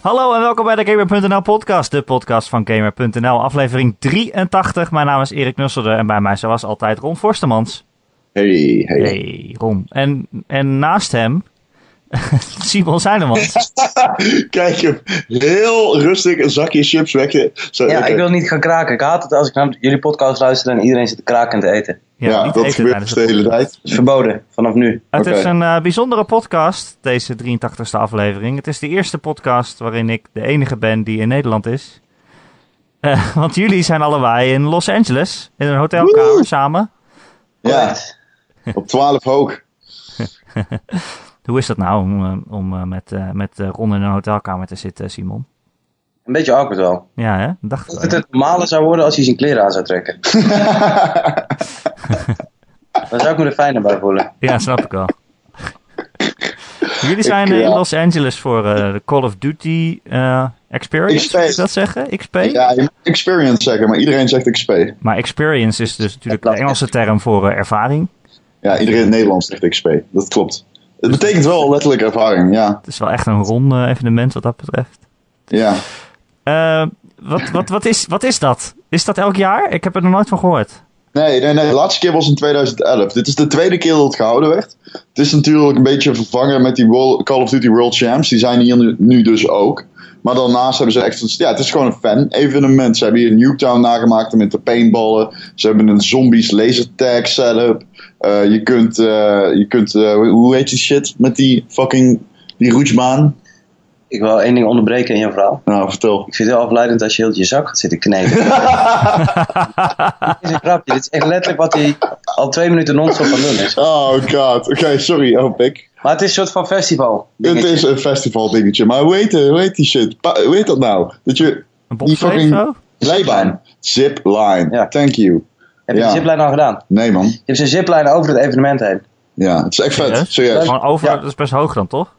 Hallo en welkom bij de Gamer.nl podcast, de podcast van Gamer.nl, aflevering 83. Mijn naam is Erik Nusselder en bij mij zoals altijd Ron Forstemans. Hey, hey. Hey Ron. En, en naast hem, Simon Zijnemans. Kijk hem heel rustig een zakje chips weg. Zo, Ja, oké. ik wil niet gaan kraken. Ik haat het als ik naar jullie podcast luister en iedereen zit kraken te eten. Ja, niet dat eten gebeurt dus tijdens de hele tijd. Het is verboden, vanaf nu. Het Oké. is een eh, bijzondere podcast, deze 83ste aflevering. Het is de eerste podcast waarin ik de enige ben die in Nederland is. Eh, want jullie zijn allebei in Los Angeles, in een hotelkamer Woehoe! samen. Ja, op 12 hoog. Hoe is dat nou om, eh, om eh, met, eh, met eh, Ron in een hotelkamer te zitten, Simon? Een beetje awkward wel. Ja, hè? Dacht ik Dat wel, het ja. het normale zou worden als hij zijn kleren aan zou trekken. Daar zou ik me er fijner bij voelen. Ja, snap ik wel. Jullie zijn eh, in ja. Los Angeles voor eh, de Call of Duty eh, Experience, XP. moet ik dat zeggen? XP? Ja, je moet experience zeggen, maar iedereen zegt XP. Maar experience is dus natuurlijk de Dat is- Engelse term voor eh, ervaring. Ja, iedereen in Nederland zegt XP. Dat klopt. Het betekent wel letterlijk ervaring, ja. Het is wel echt een rond eh, evenement wat dat betreft. ja. Eh, wat, wat, wat, is, wat is dat? Is dat elk jaar? Ik heb er nog nooit van gehoord. Nee, nee, nee, de laatste keer was in 2011. Dit is de tweede keer dat het gehouden werd. Het is natuurlijk een beetje vervangen met die World- Call of Duty World Champs. Die zijn hier nu, nu dus ook. Maar daarnaast hebben ze echt... een- Ja, het is gewoon een fan-evenement. Ze hebben hier Nuketown nagemaakt met de paintballen. Ze hebben een zombies laser tag setup. Eh, je kunt... eh, je kunt eh, hoe heet die shit met die fucking... Die roetsbaan? Ik wil één ding onderbreken in jouw verhaal. Nou, vertel. Ik vind het heel afleidend als je heel je zak gaat zitten kneden. dit is een grapje. Dit is echt letterlijk wat hij al twee minuten non-stop aan het doen is. Oh god. Oké, sorry, oh pik. Maar het is een soort van festival. Het is een festival dingetje. Maar hoe heet, hoe heet die shit? Pa- hoe heet dat nou? Dat je... Een Die bobsleigh of fucking- zo? Leibaan. Zipline. Ja. Thank you. Heb je ja. de ziplijn al gedaan? Nee, man. Je hebt zijn ziplijn over het evenement heen. Ja, het is echt vet. Serieus? Serieus. Gewoon over, Ja. dat is best hoog dan, toch?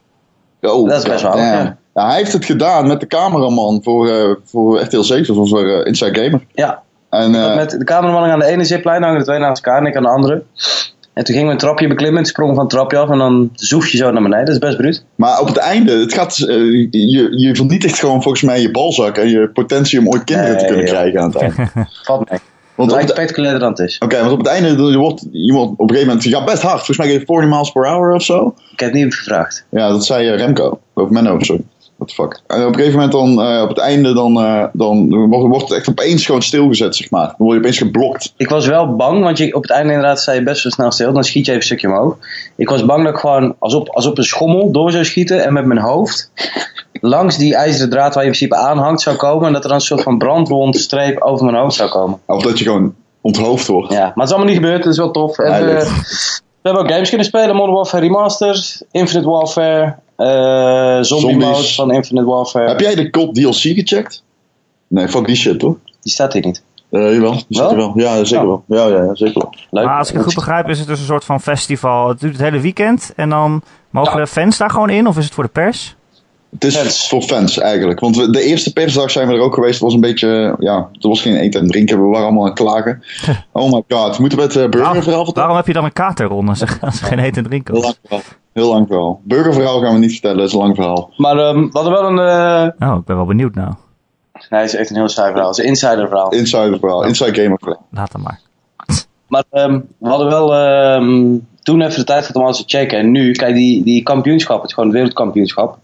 Oh, Dat is best wel damn. hoog, ja. Ja, Hij heeft het gedaan met de cameraman voor, eh voor RTL 7 of voor eh, Inside Gamer. Ja, En, eh, Met de cameraman aan de ene ziplijn hangen de twee naast elkaar en ik aan de andere. En toen gingen we een trapje beklimmen, ik sprong van het trapje af en dan zoef je zo naar beneden. Dat is best bruut. Maar op het einde, het gaat, eh, je, je vernietigt gewoon volgens mij je balzak en je potentie om ooit kinderen te Nee, kunnen joh. krijgen aan het einde. Valt mee. Want op Lijkt het- spectaculairder dan het is. Oké, want op het einde, je wordt, je wordt op een gegeven moment, je gaat best hard. Volgens mij geef je 40 miles per hour of zo. Ik heb het niet gevraagd. Ja, dat zei eh, Remco. Of Menno, sorry. What the fuck. En op een gegeven moment dan, eh, op het einde, dan, eh, dan wordt, wordt het echt opeens gewoon stilgezet, zeg maar. Dan word je opeens geblokt. Ik was wel bang, want je, op het einde inderdaad sta je best wel snel stil. Dan schiet je even een stukje omhoog. Ik was bang dat ik gewoon als op, als op een schommel door zou schieten en met mijn hoofd langs die ijzeren draad waar je in principe aan hangt zou komen. En dat er dan een soort van brandwond streep over mijn hoofd zou komen. Of dat je gewoon onthoofd wordt. Ja, maar het is allemaal niet gebeurd. Het is wel tof. En, Ja, eh, leuk. we hebben ook games kunnen spelen. Modern Warfare Remastered, Infinite Warfare, eh Zombie Zombies. Mode van Infinite Warfare. Heb jij de COD DLC gecheckt? Nee, fuck die shit, toch? Die staat hier niet. Eh jawel, die zit er wel. Ja, zeker wel. Ja, ja, ja, zeker wel. Leuk. Maar als ik het goed begrijp Ah, is het dus een soort van festival. Het duurt het hele weekend en dan mogen de fans daar gewoon in of is het voor de pers? Het is Fans. voor fans eigenlijk. Want we, de eerste persdag zijn we er ook geweest. Het was een beetje, ja, er was geen eten en drinken. We waren allemaal aan het klagen. Oh my god, moeten we het eh, burgerverhaal vertellen? Waarom heb je dan een kater rond als er, als er geen eten en drinken Heel was? lang verhaal. Heel lang verhaal. Burgerverhaal gaan we niet vertellen, dat is een lang verhaal. Maar ehm, we hadden wel een... eh, Oh, ik ben wel benieuwd nou. Nee, het is echt een heel saai verhaal. Het is een insider verhaal. Inside verhaal, inside gamer verhaal. Laat dan maar. Maar ehm, we hadden wel ehm, toen even de tijd gehad om alles te checken. En nu, kijk, die, die kampioenschap, het is gewoon het wereldkampioenschap,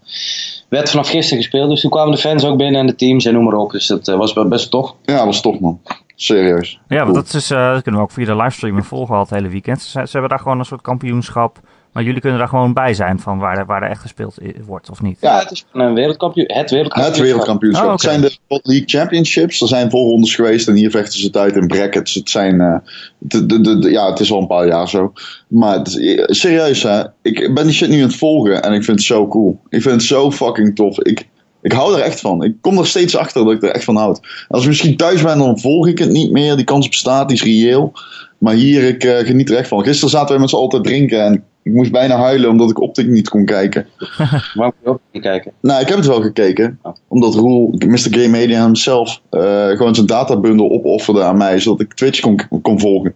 werd vanaf gisteren gespeeld. Dus toen kwamen de fans ook binnen en de teams en noem maar op. Dus dat eh, was wel best tof. Ja, dat was tof man. Serieus. Ja, want Cool. dat, is, eh, dat kunnen we ook via de livestream volgen al het hele weekend. Ze, ze hebben daar gewoon een soort kampioenschap. Maar jullie kunnen daar gewoon bij zijn van waar, er- waar er echt gespeeld i- wordt of niet. Ja. het is een wereldkampioen. Het wereldkampioenschap. Het wereldkampioenschap. Oh, Het oké. zijn de World League Championships. Er zijn voorrondes geweest en hier vechten ze het uit in brackets. Het zijn, eh, de, de, de, de- ja, het is al een paar jaar zo. Maar het is- eh, serieus hè, ik ben die shit nu aan het volgen en ik vind het zo cool. Ik vind het zo fucking tof. Ik, ik hou er echt van. Ik kom er steeds achter dat ik er echt van houd. Als ik misschien thuis ben, dan volg ik het niet meer. Die kans bestaat, die is reëel. Maar hier, ik eh, geniet er echt van. Gisteren zaten we met z'n allen te drinken en ik moest bijna huilen omdat ik optik niet kon kijken. Waarom moet je ook niet kijken? Nou, ik heb het wel gekeken. Oh. Omdat Roel, Mr. Game Media hemzelf, eh, gewoon zijn databundel opofferde aan mij, zodat ik Twitch kon, kon volgen.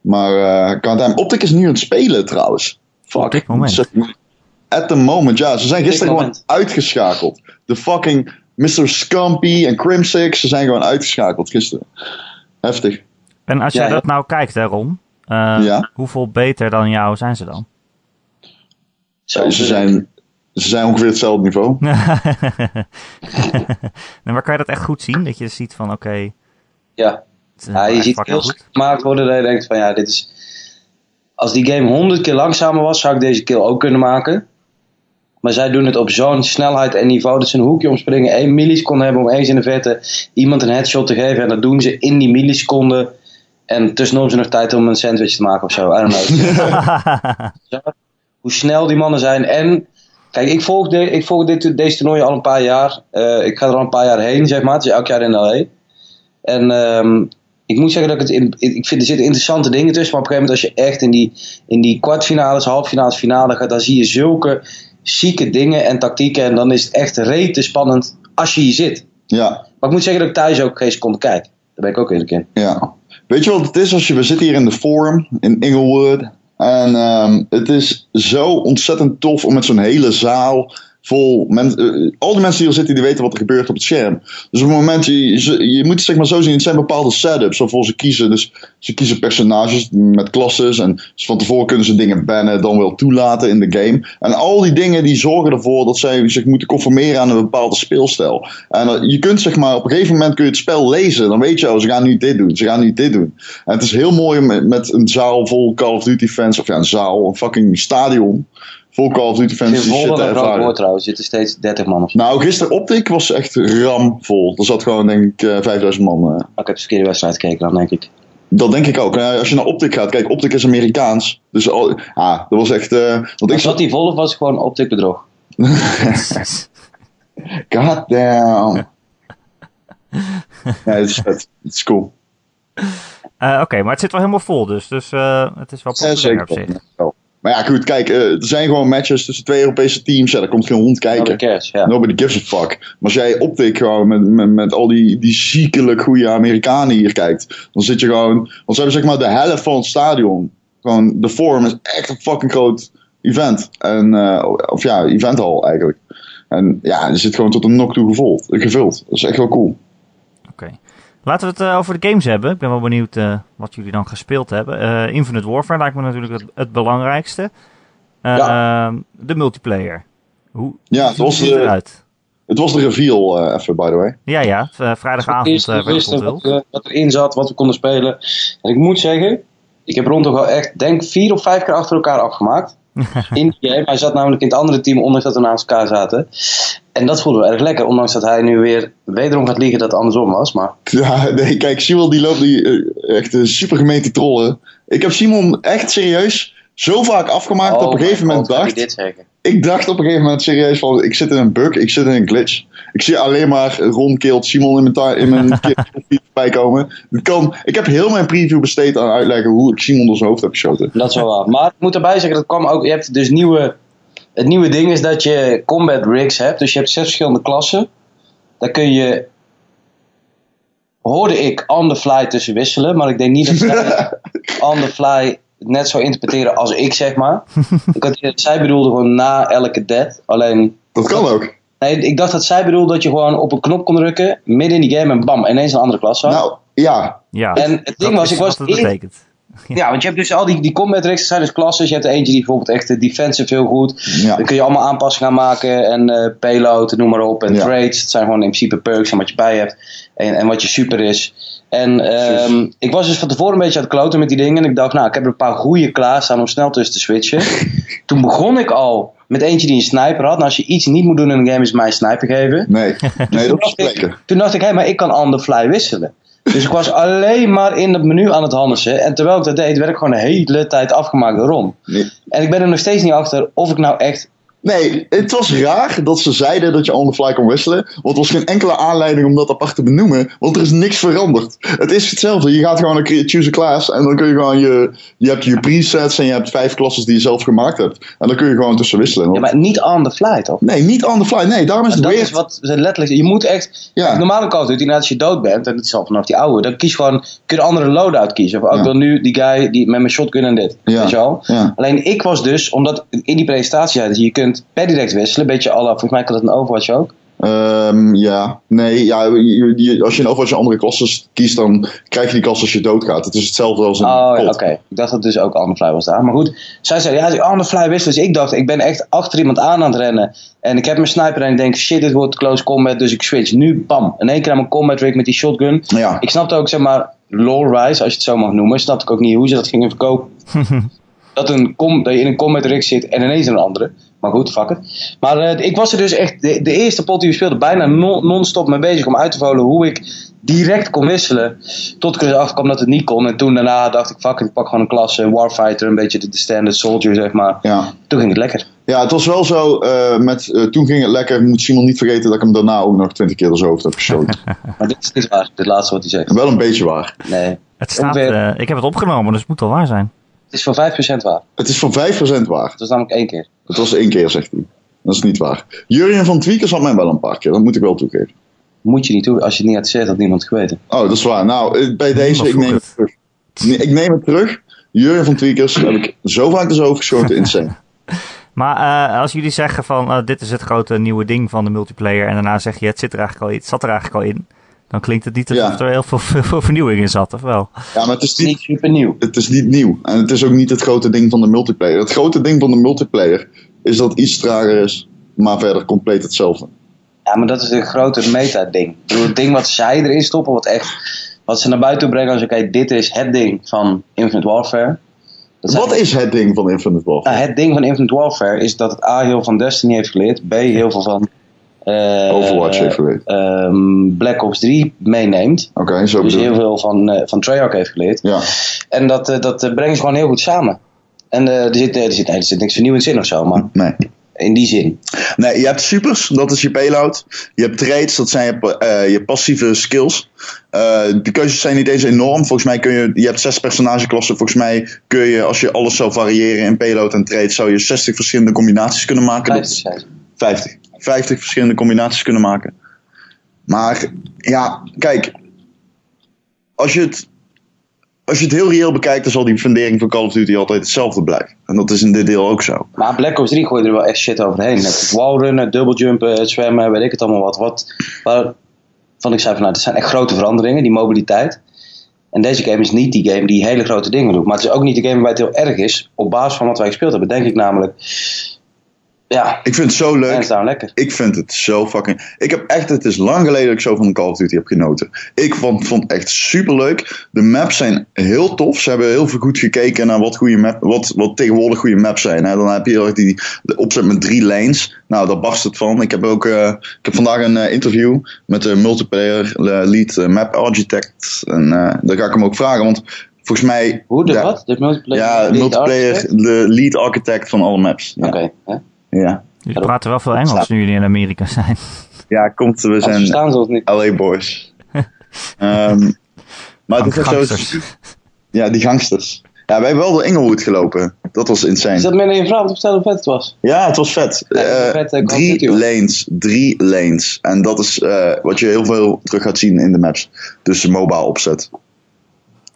Maar eh, ik kan het aan. Optik is nu aan het spelen trouwens. Op dit moment. Zeg- At the moment, ja. Ze zijn gisteren Op gewoon dit moment. uitgeschakeld. de fucking Mr. Scumpy en Crim Six, ze zijn gewoon uitgeschakeld gisteren. Heftig. En als jij Ja, dat nou kijkt, hè, Ron, eh, Ja. hoeveel beter dan jou zijn ze dan? Zo, ze, zijn, ze zijn ongeveer hetzelfde niveau. Nee, maar kan je dat echt goed zien? Dat je ziet van, oké, Ja. het is ja, je echt ziet fucking heel gemaakt worden dat je denkt van ja, dit is... Als die game 100 keer langzamer was, zou ik deze kill ook kunnen maken. Maar zij doen het op zo'n snelheid en niveau dat ze een hoekje omspringen, 1 milliseconde hebben om eens in de verte iemand een headshot te geven. En dat doen ze in die milliseconde. En tussendoor hebben ze nog tijd om een sandwich te maken of zo. I don't know. hoe snel die mannen zijn. En kijk, ik volg, de, ik volg dit, deze toernooi al een paar jaar. Eh, ik ga er al een paar jaar heen, zeg maar. Het is elk jaar in LA. En ehm, ik moet zeggen dat ik het. In, ik ik vind er zitten interessante dingen tussen. Maar op een gegeven moment, als je echt in die, in die kwartfinales, halffinales, finale gaat, dan zie je zulke zieke dingen en tactieken. En dan is het echt rete spannend als je hier zit. Ja, Maar ik moet zeggen dat ik thuis ook geen seconde kijk. Daar ben ik ook eerlijk in. ja. Weet je wat het is als je... We zitten hier in de Forum in Inglewood. En ehm, het is zo ontzettend tof om met zo'n hele zaal vol... Men, eh, al die mensen die hier zitten, die weten wat er gebeurt op het scherm. Dus op het moment, je, je, je moet het zeg maar zo zien, het zijn bepaalde setups waarvoor ze kiezen. Dus ze kiezen personages met klasses en dus van tevoren kunnen ze dingen bannen, dan wel toelaten in de game. En al die dingen die zorgen ervoor dat zij zich moeten conformeren aan een bepaalde speelstijl. En eh, je kunt zeg maar, op een gegeven moment kun je het spel lezen, dan weet je al, ze gaan nu dit doen, ze gaan nu dit doen. En het is heel mooi om met- met een zaal vol Call of Duty fans, of ja, een zaal, een fucking stadion vol Call of Duty Ik fans vind die shit Volder te een groot ervaren. woord trouwens. Er zitten steeds 30 man of zo. Nou, gisteren optik was echt ramvol. Er zat gewoon, denk ik, eh, 5000 man. eh. Ik heb de verkeerde wedstrijd gekeken dan, denk ik. Dat denk ik ook. Nou, als je naar optik gaat, kijk, optik is Amerikaans. Dus al, ah, dat was echt. eh want ik Ik zat. zat die Volder was gewoon optik bedrog. goed. God damn. Nee, het is vet. Het is cool. Eh, Oké, maar het zit wel helemaal vol dus. Dus eh, het is wel populair op zich. Maar ja, goed, kijk, eh, er zijn gewoon matches tussen twee Europese teams. Ja, daar komt geen hond kijken. Nobody cares, ja. Nobody gives a fuck. Maar als jij optik gewoon met, met, met al die, die ziekelijk goede Amerikanen hier kijkt, dan zit je gewoon. Want ze hebben zeg maar de helft van het stadion. Gewoon, de Forum is echt een fucking groot event. En, eh, of ja, eventhal eigenlijk. En ja, je zit gewoon tot een nok toe gevuld, gevuld. Dat is echt wel cool. Oké. Laten we het eh, over de games hebben. Ik ben wel benieuwd eh, wat jullie dan gespeeld hebben. Eh, Infinite Warfare lijkt me natuurlijk het, het belangrijkste. Eh, Ja. eh, ehm, de multiplayer. Hoe Ja, ziet het was, die de, eruit? het was de reveal eh, even, by the way. Ja, ja. het, eh, vrijdagavond Eerst eh, werd het wisten onthuld. wat, eh, wat erin zat, wat we konden spelen. En ik moet zeggen, ik heb Ron toch wel echt, denk vier of vijf keer achter elkaar afgemaakt. in die game. Hij zat namelijk in het andere team, ondanks dat we naast elkaar zaten. En dat voelde we erg lekker, ondanks dat hij nu weer wederom gaat liegen dat het andersom was. Maar Ja, nee, kijk, Simon die loopt die, eh, echt een super gemeente trollen. Ik heb Simon echt serieus zo vaak afgemaakt dat op een Oh my gegeven moment God, gaat hij dacht. dit zeggen. ik dacht op een gegeven moment serieus van, ik zit in een bug, ik zit in een glitch. Ik zie alleen maar Ron Keelt, Simon in mijn, ta- in mijn feed voorbij komen. Dat kan, ik heb heel mijn preview besteed aan uitleggen hoe ik Simon door zijn hoofd heb geschoten. Dat is wel waar. Maar ik moet erbij zeggen, dat kwam ook. Je hebt dus nieuwe. Het nieuwe ding is dat je combat rigs hebt. Dus je hebt zes verschillende klassen. Daar kun je. Hoorde ik on the fly tussen wisselen. Maar ik denk niet dat zij on the fly net zo interpreteren als ik, zeg maar. Ik had, zij bedoelde gewoon na elke death. Alleen. Dat kan ook. Nee, ik dacht dat zij bedoelde dat je gewoon op een knop kon drukken. Midden in die game en bam, ineens een andere klas. zag. Nou, ja. Ja, En het ding dat was, is ik was wat het eerder- betekent. Ja, want je hebt dus al die, die combat rigs, dat zijn dus klasses. Je hebt er eentje die bijvoorbeeld echt eh, defensive heel goed. ja. Dan kun je allemaal aanpassingen aan maken en eh, payload, noem maar op. En Ja. trades, het zijn gewoon in principe perks en wat je bij hebt. En, en wat je super is. En ehm, ik was dus van tevoren een beetje aan het kloten met die dingen. En ik dacht, nou, ik heb er een paar goede klaarstaan om snel tussen te switchen. Toen begon ik al met eentje die een sniper had. Nou, als je iets niet moet doen in een game, is mij een sniper geven. Nee, nee dat is Toen dacht lekker. ik- Toen dacht ik, hé, maar ik kan on the fly wisselen. Dus ik was alleen maar in dat menu aan het handelen. En terwijl ik dat deed, werd ik gewoon de hele tijd afgemaakt door Ron. Nee. En ik ben er nog steeds niet achter of ik nou echt... nee, het was raar dat ze zeiden dat je on the fly kon wisselen. Want er was geen enkele aanleiding om dat apart te benoemen. Want er is niks veranderd. Het is hetzelfde. Je gaat gewoon naar crea- choose a class. En dan kun je gewoon je... Je hebt je presets en je hebt vijf klassen die je zelf gemaakt hebt. En dan kun je gewoon tussen wisselen. Ja, maar niet on the fly, toch? Nee, niet on the fly. Nee, daarom is het Dat weer. is wat ze letterlijk... Je moet echt... Ja. Normaal Normale Call of Duty, nadat je dood bent, en dat is al vanaf die oude, dan kies je gewoon... Kun je een andere loadout kiezen. Of oh, Ja. ik wil nu die guy die, met mijn shotgun en dit. Ja. Weet je wel? Ja. Alleen ik was dus, omdat in die presentatie zeiden ze, je kunt per direct wisselen, een beetje alle, volgens mij kan dat een Overwatch ook. Ehm, ja, nee, ja, je- je- als je in overal een andere klasse kiest, dan krijg je die klas als je doodgaat. Het is hetzelfde als een Oh, ja, kot. oké. Ik dacht dat dus ook on the fly was daar. Maar goed, zij zei, ja, on the fly wist. Dus ik dacht, ik ben echt achter iemand aan aan het rennen. En ik heb mijn sniper en ik denk, shit, dit wordt close combat. Dus ik switch nu, bam. In één keer aan mijn combat rig met die shotgun. Ja, Ik snapte ook, zeg maar, lore-wise, als je het zo mag noemen. Snapte ik ook niet hoe ze dat gingen verkopen. dat, een com, dat je in een combat rig zit en ineens in een andere. Maar goed, fuck it. Maar eh, ik was er dus echt, de, de eerste pot die we speelden, bijna non- non-stop mee bezig om uit te volen hoe ik direct kon wisselen. Tot ik er dus achter kwam dat het niet kon. En toen daarna dacht ik, fuck it, ik pak gewoon een klasse, een warfighter, een beetje de, de standard soldier, zeg maar. ja. Toen ging het lekker. ja, het was wel zo. eh, met, eh, toen ging het lekker. Moet Simon niet vergeten dat ik hem daarna ook nog twintig keer door zijn hoofd heb geschoten. Maar dit is niet waar, dit laatste wat hij zegt. wel een beetje waar. Nee, Het staat, Ongeveer. eh, ik heb het opgenomen, dus het moet wel waar zijn. het is voor 5% waar. Het is voor 5% waar. Dat is namelijk één keer. Het was één keer, zegt hij. Dat is niet waar. Jurien van Tweekers had mij wel een paar keer. Dat moet ik wel toegeven. Moet je niet doen, als je het niet had gezegd, had niemand het geweten. Oh, dat is waar. Nou, eh, bij deze, Niemand ik neem vroeg het terug. Nee, ik neem het terug. Jurgen van Tweakers heb ik zo vaak dus overgeschoten, insane. Maar eh, als jullie zeggen van eh, dit is het grote nieuwe ding van de multiplayer en daarna zeg je het, zit er eigenlijk al, in- het zat er eigenlijk al in, dan klinkt het niet alsof Ja. er heel veel, veel, veel vernieuwing in zat, of wel? Ja, maar het is, Het is niet, niet super nieuw. het is niet nieuw. En het is ook niet het grote ding van de multiplayer. Het grote ding van de multiplayer is dat het iets trager is, maar verder compleet hetzelfde. Ja, maar dat is een groter meta-ding. Ik bedoel, Het ding wat zij erin stoppen, wat echt. Wat ze naar buiten brengen als: oké, dit is het ding van Infinite Warfare. Dat zijn- Wat is het ding van Infinite Warfare? Nou, het ding van Infinite Warfare is dat het A heel veel van Destiny heeft geleerd, B heel veel van. eh, Overwatch heeft geleerd. ehm, Black Ops 3 meeneemt. Oké, zo Dus bedoel heel ik. veel van, eh, van Treyarch heeft geleerd. Ja, En dat, eh, dat eh, brengen ze gewoon heel goed samen. En eh, er, zit, eh, er, zit, nee, er zit niks vernieuwends in of zo, maar nee. in die zin. Nee, je hebt supers, dat is je payload. Je hebt trades, dat zijn je, pa- eh, je passieve skills. Eh, de keuzes zijn niet eens enorm. Volgens mij kun je, je hebt zes personageklassen. Volgens mij kun je, als je alles zou variëren in payload en trades, zou je 60 verschillende combinaties kunnen maken. Dat Vijftig is- zijn ze. 50. 50 verschillende combinaties kunnen maken. Maar ja, kijk. Als je het, als je het heel reëel bekijkt, dan zal die fundering van Call of Duty altijd hetzelfde blijven. En dat is in dit deel ook zo. Maar Black Ops 3 gooide er wel echt shit overheen. Met wallrunnen, dubbeljumpen, het zwemmen, weet ik het allemaal wat. wat waarvan ik zei van nou, dat zijn echt grote veranderingen, die mobiliteit. En deze game is niet die game die hele grote dingen doet. Maar het is ook niet de game waarbij het heel erg is. Op basis van wat wij gespeeld hebben, denk ik namelijk. Ja, Ik vind het zo leuk. hands down lekker. Ik vind het zo fucking. Ik heb echt. Het is lang geleden dat ik zo van Call of Duty heb genoten. Ik vond, vond het echt super leuk. De maps zijn heel tof. Ze hebben heel veel goed gekeken naar wat, goede map, wat, wat tegenwoordig goede maps zijn. Hè. Dan heb je heel erg die de opzet met drie lanes. Nou, daar barst het van. Ik heb ook. eh, ik heb vandaag een eh, interview met de multiplayer eh, lead eh, map architect. En eh, daar ga ik hem ook vragen. Want volgens mij. Hoe, de ja, wat? De multiplayer? Ja, de multiplayer, architect? de lead architect van alle maps. Ja. Oké, hè? ja. Jullie praten wel veel Engels nu jullie in Amerika zijn. ja, komt. We Als ze zijn verstaan ze ons niet. LA Boys. Ehm, maar het is echt zo. Gangsters. Ja, die gangsters. Ja, wij hebben wel door Englewood gelopen. Dat was Is insane. dat meer dan je vrouw om te vertellen hoe vet het was? Ja, het was vet. Ja, het was Eh, vet, eh, Call of Duty, drie hoor. lanes, drie lanes. En dat is eh, wat je heel veel terug gaat zien in de maps. Dus mobile opzet.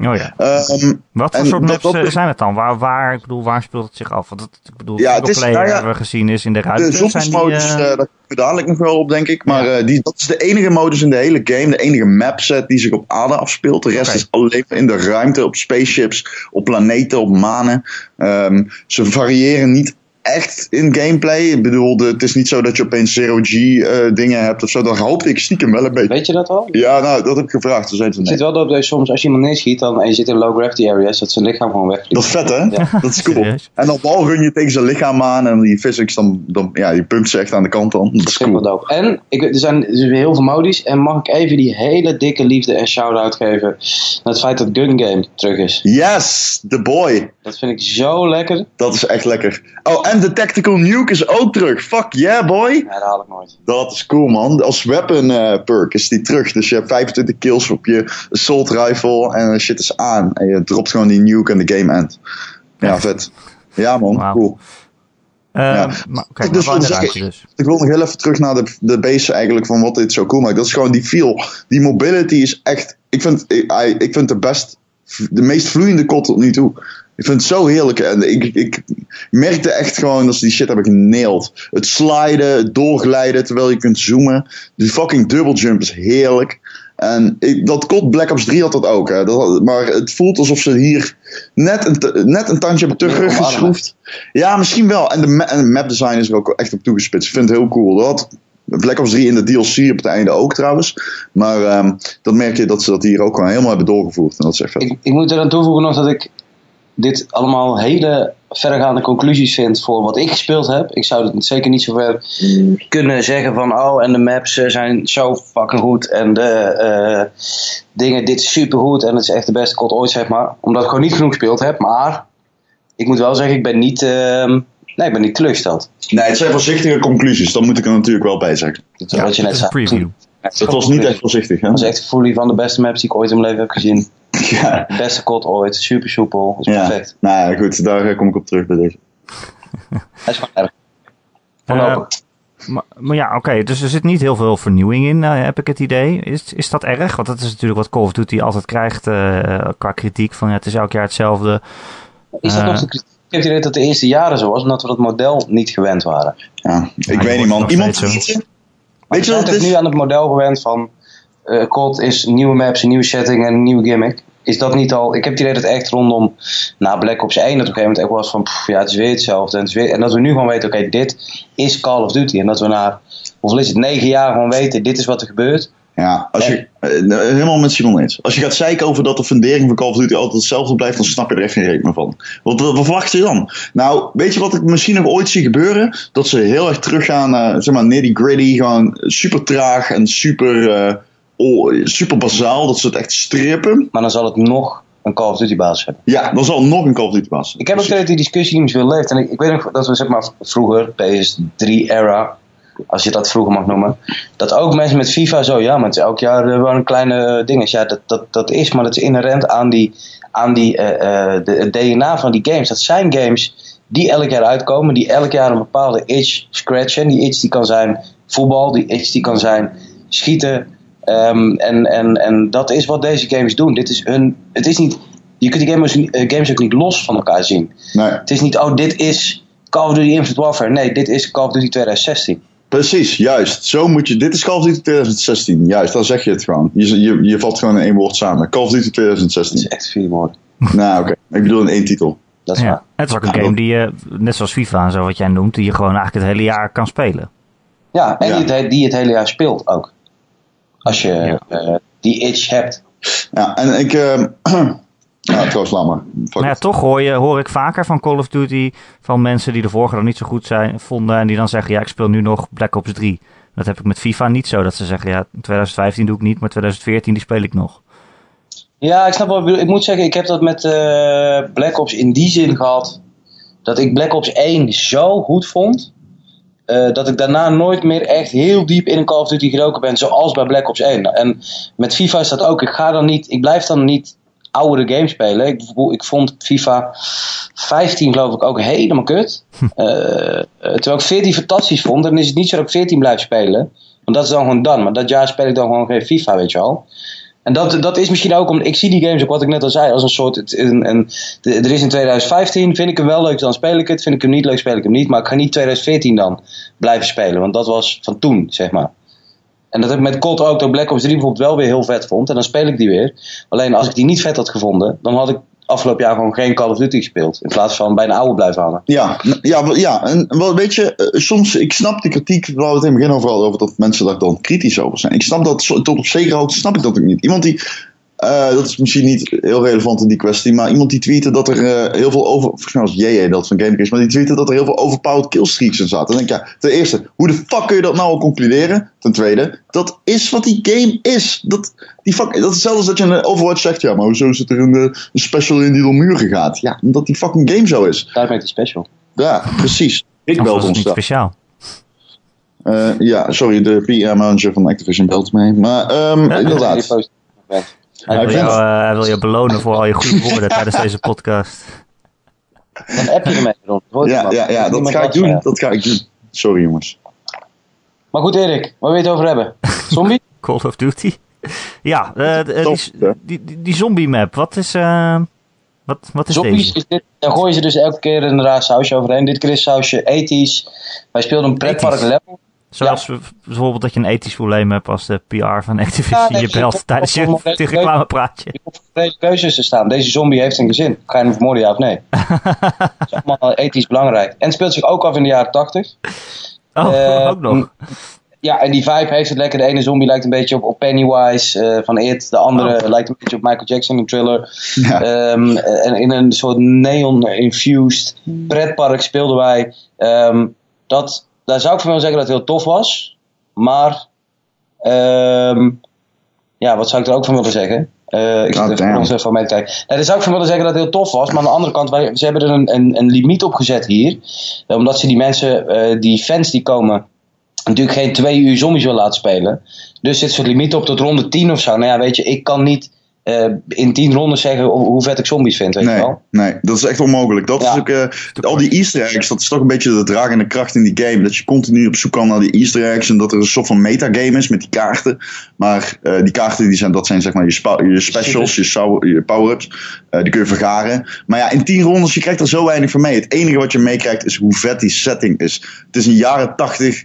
Oh ja. Ehm, Wat voor En soort dat- maps dat eh, is- zijn het dan? Waar, waar, ik bedoel, waar speelt het zich af? Want het, ik bedoel, Ja, het single is- player nou ja, hebben we gezien is in de ruimte. de Zijn die, zombiesmodus, eh eh, daar komen we dadelijk nog wel op, denk ik. Maar eh, die, dat is de enige modus in de hele game. De enige mapset die zich op aarde afspeelt. De rest Oké. is alleen maar in de ruimte, op spaceships, op planeten, op manen. Ehm, ze variëren niet echt in gameplay. Ik bedoel, de- het is niet zo dat je opeens zero-G eh, dingen hebt of zo. Daar hoopte ik stiekem wel een beetje. Weet je dat al? Ja, nou, dat heb ik gevraagd. Ze zeiden van Ik nee. zit wel dat je soms, als je iemand neerschiet dan, en je zit in low gravity areas, dat zijn lichaam gewoon wegvliegt. Dat is vet, hè? Ja. Dat is cool. Serieus? En dan bal run je tegen zijn lichaam aan en die physics, dan, dan, ja, die pumpt ze echt aan de kant dan. Dat is Vind ik wel cool. dope. En ik, weet- er zijn er zijn heel veel modies. En mag ik even die hele dikke liefde en shout-out geven naar het feit dat Gun Game terug is. Yes, the boy. Dat vind ik zo lekker. Dat is echt lekker. Oh, en de Tactical Nuke is ook terug. Fuck yeah, boy. Ja, dat haal ik nooit. Dat is cool, man. Als weapon eh, perk is die terug. Dus je hebt 25 kills op je assault rifle en eh, shit is aan. En je dropt gewoon die nuke en de game end. Ja, vet. Ja, man. Wauw. Cool. eh, ja. maar, oké, Dus maar wel in de dan zeg ruimte ik- dus. Ik wil nog heel even terug naar de, de base eigenlijk van wat dit zo cool maakt. Dat is gewoon die feel. Die mobility is echt... Ik vind, ik, I- ik vind de best... De meest vloeiende kot tot nu toe. Ik vind het zo heerlijk. En ik, ik merkte echt gewoon dat ze die shit hebben geneeld. Het sliden, het doorglijden terwijl je kunt zoomen. Die fucking double jump is heerlijk. En ik- dat kot Black Ops 3 had dat ook. Hè. Dat had- maar het voelt alsof ze hier net een, t- net een tandje hebben teruggeschroefd. Ja, misschien wel. En de, ma- en de mapdesign is er ook echt op toegespitst. Ik vind het heel cool. Dat had Black Ops 3 in de DLC op het einde ook trouwens. Maar ehm, dan merk je dat ze dat hier ook gewoon helemaal hebben doorgevoerd. En dat is echt vet. Ik, ik moet eraan toevoegen nog dat ik dit allemaal hele verregaande conclusies vind voor wat ik gespeeld heb. Ik zou het zeker niet zo ver kunnen zeggen van oh en de maps eh, zijn zo fucking goed en de eh, dingen dit is super goed en het is echt de beste kot ooit zeg maar. Omdat ik gewoon niet genoeg gespeeld heb, maar ik moet wel zeggen ik ben niet, ehm, nee, ik ben niet teleurgesteld. Nee, het zijn voorzichtige conclusies. Dat moet ik er natuurlijk wel bij zeggen. Dat is Ja, wat je het net is een zei. preview. Het is Het was gewoon- niet echt voorzichtig, hè? Het was echt fully van de beste maps die ik ooit in mijn leven heb gezien. Ja, De beste kot ooit, super soepel, is ja. perfect. Nou ja, goed, daar eh, kom ik op terug bij deze. Hij is gewoon erg. Eh, Voorlopig. maar, maar ja, oké, dus er zit niet heel veel vernieuwing in, eh, heb ik het idee. Is, is dat erg? Want dat is natuurlijk wat Call of Duty altijd krijgt eh, qua kritiek. Van ja, het is elk jaar hetzelfde. Is dat Eh. nog de kritiek? Ik heb het idee dat het de eerste jaren zo was, omdat we dat model niet gewend waren. Ja, ik wordt weet niet, man. nog Iemand steeds zo. tweeten? Maar Weet je we wat het zijn toch is? nu aan het model gewend van eh COD is nieuwe maps, een nieuwe setting en een nieuwe gimmick. Is dat niet al... Ik heb het idee dat echt rondom na Black Ops 1 dat op een gegeven moment echt was van pff, ja, het is weer hetzelfde. En, het is weer, en dat we nu gewoon weten, oké, dit is Call of Duty. En dat we na, hoeveel is het, negen jaar gewoon weten, dit is wat er gebeurt. Ja, als je, eh, eh, helemaal met Simon eens. Als je gaat zeiken over dat de fundering van Call of Duty altijd hetzelfde blijft, dan snap je er echt geen reet meer van. Want wat, wat verwacht je dan? Nou, weet je wat ik misschien nog ooit zie gebeuren? Dat ze heel erg teruggaan naar zeg maar, nitty gritty, gewoon super traag en super, eh, oh, super bazaal. Dat ze het echt strippen. Maar dan zal het nog een Call of Duty basis hebben. Ja, dan zal nog een Call of Duty baas. Ik heb ook dat die discussie niet meer zo leeft. En ik, ik weet nog dat we zeg maar vroeger, PS3-era, als je dat vroeger mag noemen, dat ook mensen met FIFA zo, ja, maar het is elk jaar eh, wel een kleine dingetje. Ja, dat, dat, dat is, maar dat is inherent aan, die, aan die, eh, eh, de, het DNA van die games. Dat zijn games die elk jaar uitkomen, die elk jaar een bepaalde itch scratchen. Die itch die kan zijn voetbal, die itch die kan zijn schieten. Ehm, en, en, en dat is wat deze games doen. Dit is hun, het is niet, je kunt die games, eh, games ook niet los van elkaar zien. Nee, Het is niet, oh, dit is Call of Duty Infinite Warfare. Nee, dit is Call of Duty 2016. precies, juist. Zo moet je. Dit is Call of Duty 2016. Juist, dan zeg je het gewoon. Je, je, je valt gewoon in één woord samen. Call of Duty Dat is 2016. echt vier woorden. nou, oké. Ik bedoel in één titel. Dat is Ja, waar. het is ook een game die je, net zoals FIFA en zo wat jij noemt, die je gewoon eigenlijk het hele jaar kan spelen. Ja, en Ja. Die, het, die het hele jaar speelt ook. Als je Ja. eh, die itch hebt. Ja, en ik. ehm ja, trouwens, laat maar. Fuck Maar Nou ja, it. toch hoor, je, hoor ik vaker van Call of Duty van mensen die de vorige dan niet zo goed zijn, vonden en die dan zeggen, ja, ik speel nu nog Black Ops 3. Dat heb ik met FIFA niet zo, dat ze zeggen, ja, 2015 doe ik niet, maar 2014 die speel ik nog. Ja, ik snap wel. wat je bedoelt. Ik moet zeggen, ik heb dat met eh, Black Ops in die zin gehad. Dat ik Black Ops 1 zo goed vond. eh, dat ik daarna nooit meer echt heel diep in een Call of Duty geroken ben. Zoals bij Black Ops 1. En met FIFA is dat ook. Ik ga dan niet. Ik blijf dan niet oudere games spelen. Ik, bedoel, ik vond FIFA 15 geloof ik ook helemaal kut. Eh, eh, terwijl ik 14 fantastisch vond. Dan is het niet zo dat ik 14 blijf spelen. Want dat is dan gewoon dan. Maar dat jaar speel ik dan gewoon geen FIFA, weet je wel. En dat, dat is misschien ook, om, ik zie die games ook wat ik net al zei, als een soort, het- een, een, de- er is in 2015, vind ik hem wel leuk, dan speel ik het, vind ik hem niet leuk, speel ik hem niet, maar ik ga niet 2014 dan blijven spelen, want dat was van toen, zeg maar. En dat heb ik met COD ook, dat Black Ops 3 bijvoorbeeld wel weer heel vet vond, en dan speel ik die weer. Alleen als ik die niet vet had gevonden, dan had ik afgelopen jaar gewoon geen Call of Duty gespeeld, in plaats van bij een oude blijven hangen. Ja, n- ja, wel- ja, en wel, weet je, eh, soms, ik snap de kritiek waar we het in het begin over hadden, over dat mensen daar dan kritisch over zijn. Ik snap dat, zo- tot op zekere hoogte snap ik dat ook niet. Iemand die, eh, dat is misschien niet heel relevant in die kwestie, maar iemand die tweette dat er eh, heel veel over, volgens mij was JJ dat van Gamecube, maar die tweette dat er heel veel overpowered killstreaks in zaten. Dan denk ik, ja, ten eerste, hoe de fuck kun je dat nou al concluderen? Ten tweede, dat is wat die game is. Dat, die fuck, dat is hetzelfde als dat je in eh, Overwatch zegt, ja, maar hoezo zit er een, eh, een special in die door muren gaat? Ja, omdat die fucking game zo is. Daarom heet die special. Ja, precies. Ik Of belt was het ons niet daar. speciaal? Eh, ja, sorry, de PR-manager van Activision belt mee. Maar ehm, Die inderdaad. post- Hij Ja, wil, ik jou, vind- eh, hij wil je belonen voor al je goede woorden tijdens deze podcast. Dan app je ermee, Ron. Hoor je Ja, ja, ja, dat Niemand ga ik luistert doen. naar. Dat ga ik doen. Sorry jongens. Maar goed Erik, waar wil je het over hebben? Zombie? Call of Duty. Ja, eh, eh, Top, die, hè? die, die zombie map, wat is, eh, Wat, wat is Zoppies deze? is dit, daar gooien ze dus elke keer inderdaad sausje overheen. Dit keer is sausje ethisch. Wij speelden een pretpark 80s. level. Zoals we- bijvoorbeeld dat je een ethisch probleem hebt als de PR van Activision Ja, nee, je ik- belt ik- tijdens ik- je ik- tegen reclamepraatje. Je hoeft voor deze keuzes te staan. Deze zombie heeft een gezin. Ga je hem vermoorden, ja of nee? dat is allemaal ethisch belangrijk. En het speelt zich ook af in de jaren 80. Oh, Eh, ook nog. Ja, en die vibe heeft het lekker. De ene zombie lijkt een beetje op, op Pennywise eh, van It. De andere Oh. lijkt een beetje op Michael Jackson in Thriller. Ja. Ehm, en in een soort neon-infused Hmm. pretpark speelden wij. Ehm, dat, daar zou ik van willen zeggen dat het heel tof was. Maar, ehm, ja, wat zou ik er ook van willen zeggen? Eh, ik God zit damn. even ons even van mee te kijken. Nee, daar zou ik van willen zeggen dat het heel tof was. Maar aan de andere kant, wij, ze hebben er een, een, een limiet op gezet hier. Eh, Omdat ze die mensen, eh, die fans die komen, natuurlijk geen twee uur zombies wil laten spelen. Dus zit zo'n limiet op tot ronde 10 of zo. Nou ja, weet je, ik kan niet eh, in 10 ronden zeggen hoe, hoe vet ik zombies vind, weet je Nee, wel. nee, dat is echt onmogelijk. Dat Ja. is ook, eh, al die easter eggs, dat is toch een beetje de dragende kracht in die game. Dat je continu op zoek kan naar die easter eggs en dat er een soort van metagame is met die kaarten. Maar eh, die kaarten, die zijn, dat zijn zeg maar je, spa- je specials, je, sou- je power-ups. Eh, die kun je vergaren. Maar ja, in 10 rondes, je krijgt er zo weinig van mee. Het enige wat je meekrijgt is hoe vet die setting is. Het is een jaren 80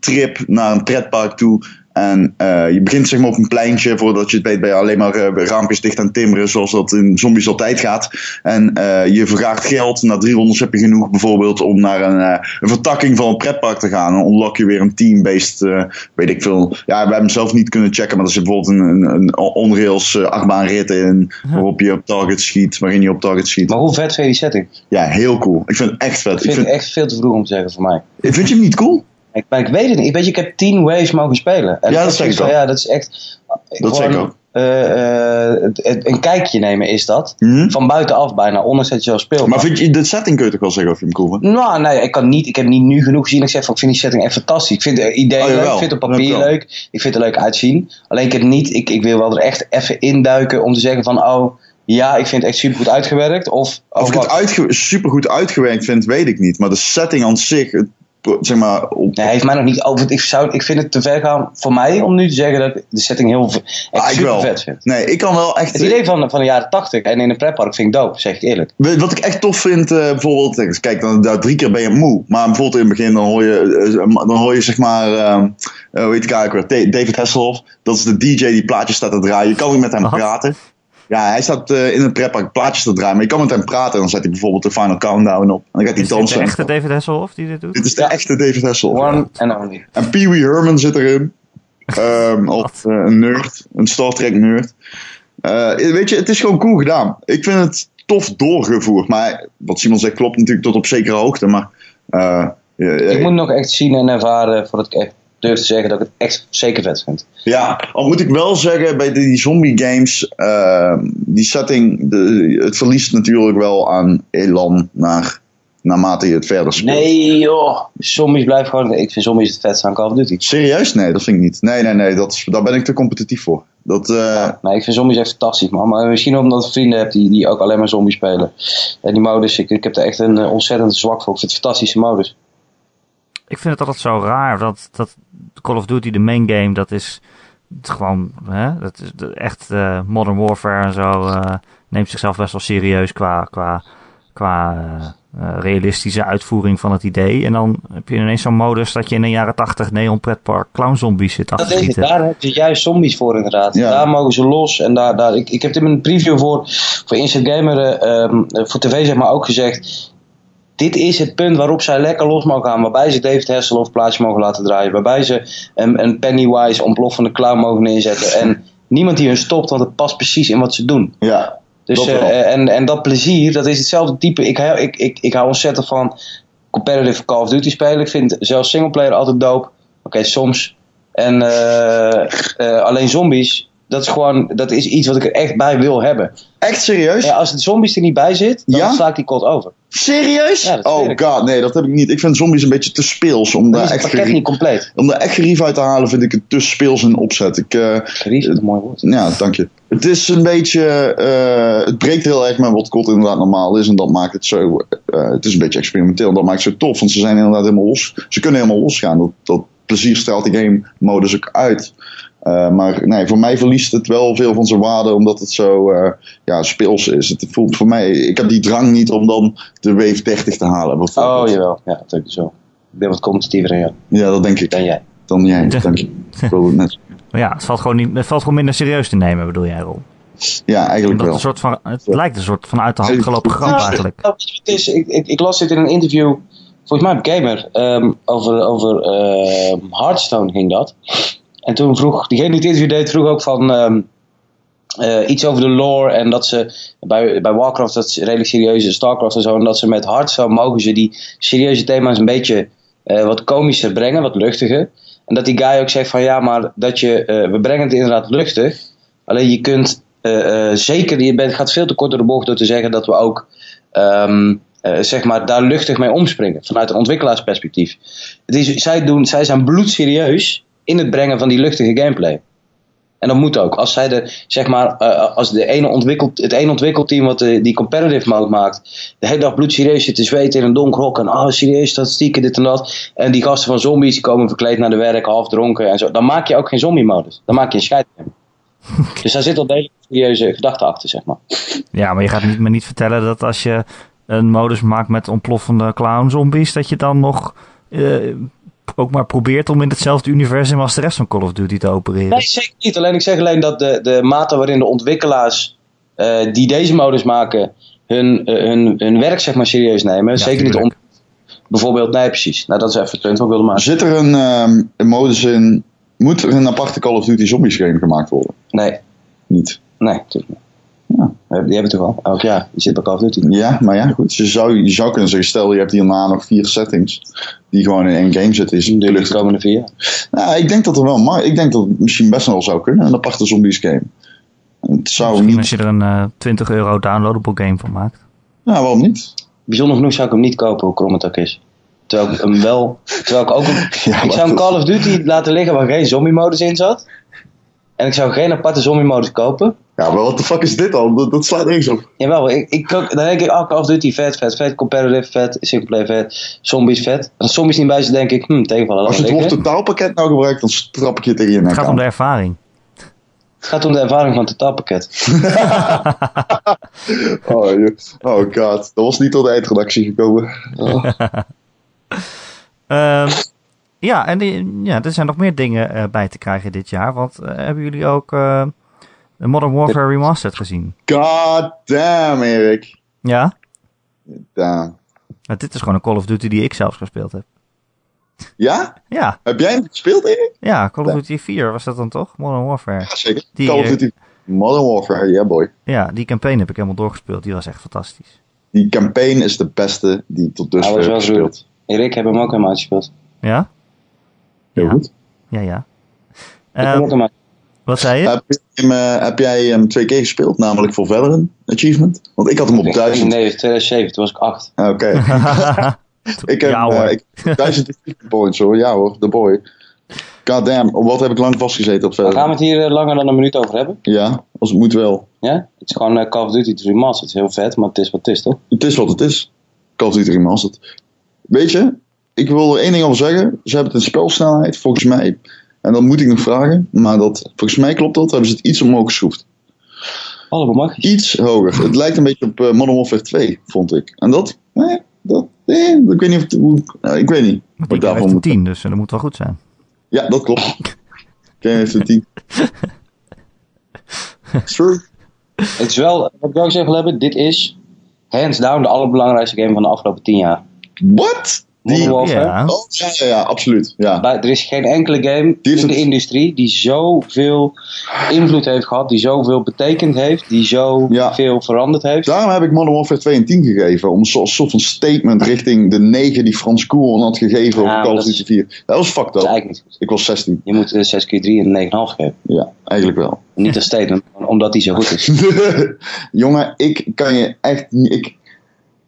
trip naar een pretpark toe. En eh, je begint zeg maar op een pleintje voordat je het weet ben je alleen maar eh, raampjes dicht aan timmeren zoals dat in zombies altijd gaat. En eh, je vergaart geld. Na drie rondes heb je genoeg bijvoorbeeld om naar een, eh, een vertakking van een pretpark te gaan. Dan unlock je weer een team-based, eh, weet ik veel. Ja, we hebben hem zelf niet kunnen checken, maar er zit bijvoorbeeld een, een, een onrails eh, achtbaanrit in waarop je op target schiet, waarin je op target schiet. Maar hoe vet vind je die setting? Ja, heel cool. Ik vind het echt vet. Dat Ik vind ik vind, echt veel te vroeg om te zeggen voor mij. vind je hem niet cool? Ik, maar ik weet het niet. Ik weet je, ik heb 10 waves mogen spelen. En Ja, dat is zeg ik van, al. Ja, dat is echt... Dat zeg ik gewoon, al. eh, eh, het- het- een kijkje nemen is dat. Mhm. Van buitenaf bijna, ondanks dat je al speelt. Maar vind je, de setting kun je toch wel zeggen of je hem cool vindt? Nou, nee, ik kan niet. Ik heb niet nu genoeg gezien. Ik zeg van, ik vind die setting echt fantastisch. Ik vind het idee Oh, leuk. jawel. Ik vind het op Dat papier wel. leuk. Ik vind het er leuk uitzien. Alleen ik heb niet. Ik, ik wil wel er echt even induiken om te zeggen van, oh, ja, ik vind het echt super goed uitgewerkt. Of, oh, Of ik het wat. uitge supergoed uitgewerkt vind, weet ik niet. Maar de setting aan zich, het pro- zeg maar... op- Nee, hij heeft mij nog niet over. Ik, zou, ik vind het te ver gaan voor mij om nu te zeggen dat ik de setting heel v- echt Ah, ik super wel. vet vind. Nee, ik kan wel echt... Het idee van, van de jaren 80 en in een pretpark vind ik dope, zeg ik eerlijk. Weet- Wat ik echt tof vind, eh, bijvoorbeeld... eh, Kijk, dan, daar drie keer ben je moe. Maar bijvoorbeeld in het begin, dan hoor je, eh, dan hoor je zeg maar... ehm, eh, hoe heet die guy ook weer? Da- David Hasselhoff. Dat is de DJ die plaatjes staat te draaien. Je kan ook met hem Wat? praten. Ja, hij staat eh, in een pretpark plaatjes te draaien. Maar je kan met hem praten. En dan zet hij bijvoorbeeld de Final Countdown op. En dan gaat hij Is dit de dansen. echte David Hasselhoff die dit doet? Dit is de Ja. echte David Hasselhoff. One and only. En Pee Wee Herman zit erin. Ehm als eh, een nerd. Een Star Trek nerd. Eh, weet je, het is gewoon cool gedaan. Ik vind het tof doorgevoerd. Maar wat Simon zegt klopt natuurlijk tot op zekere hoogte. Maar eh, eh, Ik moet nog echt zien en ervaren voordat ik echt durf te zeggen dat ik het echt zeker vet vind. ja, al moet ik wel zeggen, bij die zombie games, ehm, die setting, de, het verliest natuurlijk wel aan elan naar, naarmate je het verder speelt. Nee joh, zombies blijven gewoon... Ik vind zombies het vetste aan Call of Duty. Serieus? Nee, dat vind ik niet. Nee, nee, nee, dat, is- daar ben ik te competitief voor. Dat, eh, Nee, ik vind zombies echt fantastisch man. Maar misschien omdat ik vrienden heb die, die ook alleen maar zombies spelen. En die modus, ik, ik heb er echt een eh, ontzettend zwak voor. Ik vind het een fantastische modus. Ik vind het altijd zo raar dat, dat Call of Duty, de main game, dat is het gewoon hè, dat is de- echt eh, Modern Warfare en zo eh, neemt zichzelf best wel serieus qua, qua, qua eh, eh, realistische uitvoering van het idee. En dan heb je ineens zo'n modus dat je in de jaren 80 neon pretpark clownzombies zit af Dat te is het. schieten. Daar hebben ze juist zombies voor inderdaad. Ja. Daar mogen ze los. En daar, daar, ik, ik heb het in mijn preview voor, voor Instant Gamer, eh, ehm, eh, voor tv zeg maar ook gezegd. Dit is het punt waarop zij lekker los mogen gaan. Waarbij ze David Hasselhoff plaatje mogen laten draaien. Waarbij ze een, een Pennywise ontploffende clown mogen neerzetten. En niemand die hun stopt, want het past precies in wat ze doen. ja, Dus, Dat wel. eh, en, en dat plezier, dat is hetzelfde type. Ik, hou- ik, ik, ik hou ontzettend van competitive Call of Duty spelen. Ik vind zelfs singleplayer altijd dope. Oké, soms. En eh, eh, alleen zombies, dat is gewoon, dat is iets wat ik er echt bij wil hebben. echt serieus? Ja, als de zombies er niet bij zit, dan Ja? sla ik die cold over. Serieus? Ja, dat oh weet ik. god, nee, dat heb ik niet. Ik vind zombies een beetje te speels. Om Dan daar is het echt, pakket gerief- niet compleet. om daar echt gerief uit te halen vind ik het te speels en opzet. Ik, eh, Gerief is een mooi woord. ja, dank je. Het is een beetje, eh, het breekt heel erg met wat kot inderdaad normaal is. En dat maakt het zo, eh, het is een beetje experimenteel. Dat maakt het zo tof, want ze zijn inderdaad helemaal los. Ze kunnen helemaal losgaan. Dat, dat plezier straalt die game modus ook uit. Eh, Eh, maar nee, voor mij verliest het wel veel van zijn waarde omdat het zo eh, ja, speels is. Het voelt voor mij, ik heb die drang niet om dan de Wave 30 te halen. bijvoorbeeld. Oh, jawel. Ja, natuurlijk zo. Ik ben wat competitiever dan, jou- Ja, dat denk ik. dan jij. Dan jij, dank je. Ik wilde het net- Maar ja, het valt, gewoon niet, het valt gewoon minder serieus te nemen, bedoel jij, Rob? Ja, eigenlijk Omdat het, wel. een soort van, het Ja. lijkt een soort van uit de hand gelopen grap eigenlijk. Nou, weet je wat het is, ik, ik, ik las dit in een interview, volgens mij op Gamer, ehm, over, over ehm, Hearthstone ging dat. En toen vroeg, diegene die het interview deed, vroeg ook van ehm, eh, iets over de lore en dat ze bij, bij Warcraft, dat is redelijk serieus, en Starcraft en zo, en dat ze met Hearthstone mogen ze die serieuze thema's een beetje eh, wat komischer brengen, wat luchtiger. En dat die guy ook zegt van ja, maar dat je, eh, we brengen het inderdaad luchtig, alleen je kunt eh, eh, zeker, je bent, gaat veel te kort door de bocht door te zeggen dat we ook ehm, eh, zeg maar, daar luchtig mee omspringen. Vanuit een ontwikkelaarsperspectief. Het is, zij, doen, zij zijn bloedserieus in het brengen van die luchtige gameplay. En dat moet ook. Als, zij de, zeg maar, eh, als de ene ontwikkelt, het ene ontwikkelteam wat de, die competitive mode maakt, de hele dag bloedserieus zit te zweten in een donker hok. En oh, serieus, statistieken, dit en dat. En die gasten van zombies die komen verkleed naar de werk, half dronken en zo. Dan maak je ook geen zombie-modus. Dan maak je een scheid. Dus daar zit al deze serieuze gedachte achter, zeg maar. Ja, maar je gaat niet, me niet vertellen dat als je een modus maakt met ontploffende clown-zombies, dat je dan nog eh, ook maar probeert om in hetzelfde universum als de rest van Call of Duty te opereren. Nee, zeker niet. Alleen ik zeg alleen dat de, de mate waarin de ontwikkelaars eh, die deze modus maken hun, eh, hun, hun werk zeg maar serieus nemen. Ja, zeker niet om. tuurlijk. Bijvoorbeeld, nee, precies. Nou, dat is even het punt wat ik wilde maken. Zit er een, ehm, een modus in, moet er een aparte Call of Duty Zombies game gemaakt worden? Nee, Niet. nee, natuurlijk niet. Eh, Ja. Die hebben het toch al? Elk jaar. Die zit bij Call of Duty. Ja, maar ja, goed. Je zou, je zou kunnen zeggen, stel je hebt hierna nog vier settings die gewoon in één game zitten. Is het De lucht. komende vier jaar. Nou, ik denk dat er wel, maar ik denk dat het misschien best wel zou kunnen, een aparte Zombies game. Het zou Misschien niet, als je er een eh, 20 euro downloadable game van maakt. nou waarom niet? Bijzonder genoeg zou ik hem niet kopen, hoe krom het ook is. Terwijl ik hem wel. Terwijl ik ook. een- Ja, ik maar zou een dat- Call of Duty laten liggen waar geen zombie-modus in zat. En ik zou geen aparte zombie-modus kopen. Ja, maar wat de fuck is dit dan? Dat, dat slaat niks op. Jawel, ik, ik, kan- dan denk ik, oh, Call of Duty vet, vet, vet, competitive vet, simple vet, zombies vet. Als zombies niet bij zijn, denk ik, hm, tegenvallen. Als je het laat woord liggen. totaalpakket nou gebruikt, dan strap ik je tegen je nek Het gaat aan. om de ervaring. Het gaat om de ervaring van het totaalpakket. Oh, je- oh god, dat was niet tot de eindredactie gekomen. Ehm, ja, en die- ja, er zijn nog meer dingen eh, bij te krijgen dit jaar. Want eh, hebben jullie ook eh, Modern Warfare Remastered gezien? God damn, Erik. Ja? Damn. Nou, dit is gewoon een Call of Duty die ik zelfs gespeeld heb. Ja? Ja, Heb jij hem gespeeld, Erik? ja Call of Ja. Duty 4 was dat dan toch? Modern Warfare. Ja, zeker. Die, Call of eh, Duty Modern Warfare, yeah boy. Ja, die campaign heb ik helemaal doorgespeeld. Die was echt fantastisch. Die campaign is de beste die ik tot Hij dusver was heb wel gespeeld. zoet. Erik heb hem ook helemaal uitgespeeld. Ja? Heel goed. Ja, ja. Ik heb hem Ehm, ook helemaal- wat zei je? Heb, je hem, eh, heb jij hem twee keer gespeeld, namelijk voor Veteran Achievement? Want ik had hem op 1000. Nee, 2007, toen was ik acht. Ah, Oké. Ik heb ja hoor. eh, ik heb 1000 achievement points hoor. Ja hoor, de boy. God damn, op wat heb ik lang vastgezeten op Daar gaan we Veteran? het hier eh, langer dan een minuut over hebben. Ja, als het moet wel. Ja? Het is gewoon eh, Call of Duty 3 Master. Het is heel vet, maar het is wat het is, toch? Het is wat het is. Call of Duty Remastered. Weet je, ik wil er één ding over zeggen. Ze hebben het in spelsnelheid, volgens mij. En dat moet ik nog vragen. Maar dat, volgens mij klopt dat. Hebben ze het iets omhoog geschroefd. Allemaal mag. Iets hoger. Het lijkt een beetje op eh, Modern Warfare 2, vond ik. En dat, nee, dat, nee, ik weet niet of het, hoe, nou, ik weet niet. Want Wat die ik heeft daarvan een moet. 10, dus eh, dat moet wel goed zijn. Ja, dat klopt. Ken heeft een 10. True. Het is wel, wat ik ook zeggen wil hebben, dit is hands down de allerbelangrijkste game van de afgelopen 10 jaar. What? Die, Modern oh, Warfare. Ja. ja, ja, ja, absoluut. Ja. Bij- Er is geen enkele game Die is in de het. industrie die zoveel invloed heeft gehad, die zoveel betekend heeft, die zoveel Ja. veel veranderd heeft. Dus Daarom heb ik Modern Warfare 2 een 10 gegeven. Om zo- als soort van statement richting de 9 die Frans Koeren had gegeven Ja, over Call maar of dat Duty 4. Dat was fucked Dat is up. eigenlijk niet goed. Ik was 16. Je moet eh, 6 keer 3 en 9,5 geven. Ja, eigenlijk wel. Dus- Niet een statement, maar omdat die zo goed is. Jongen, ik kan je echt niet... Ik,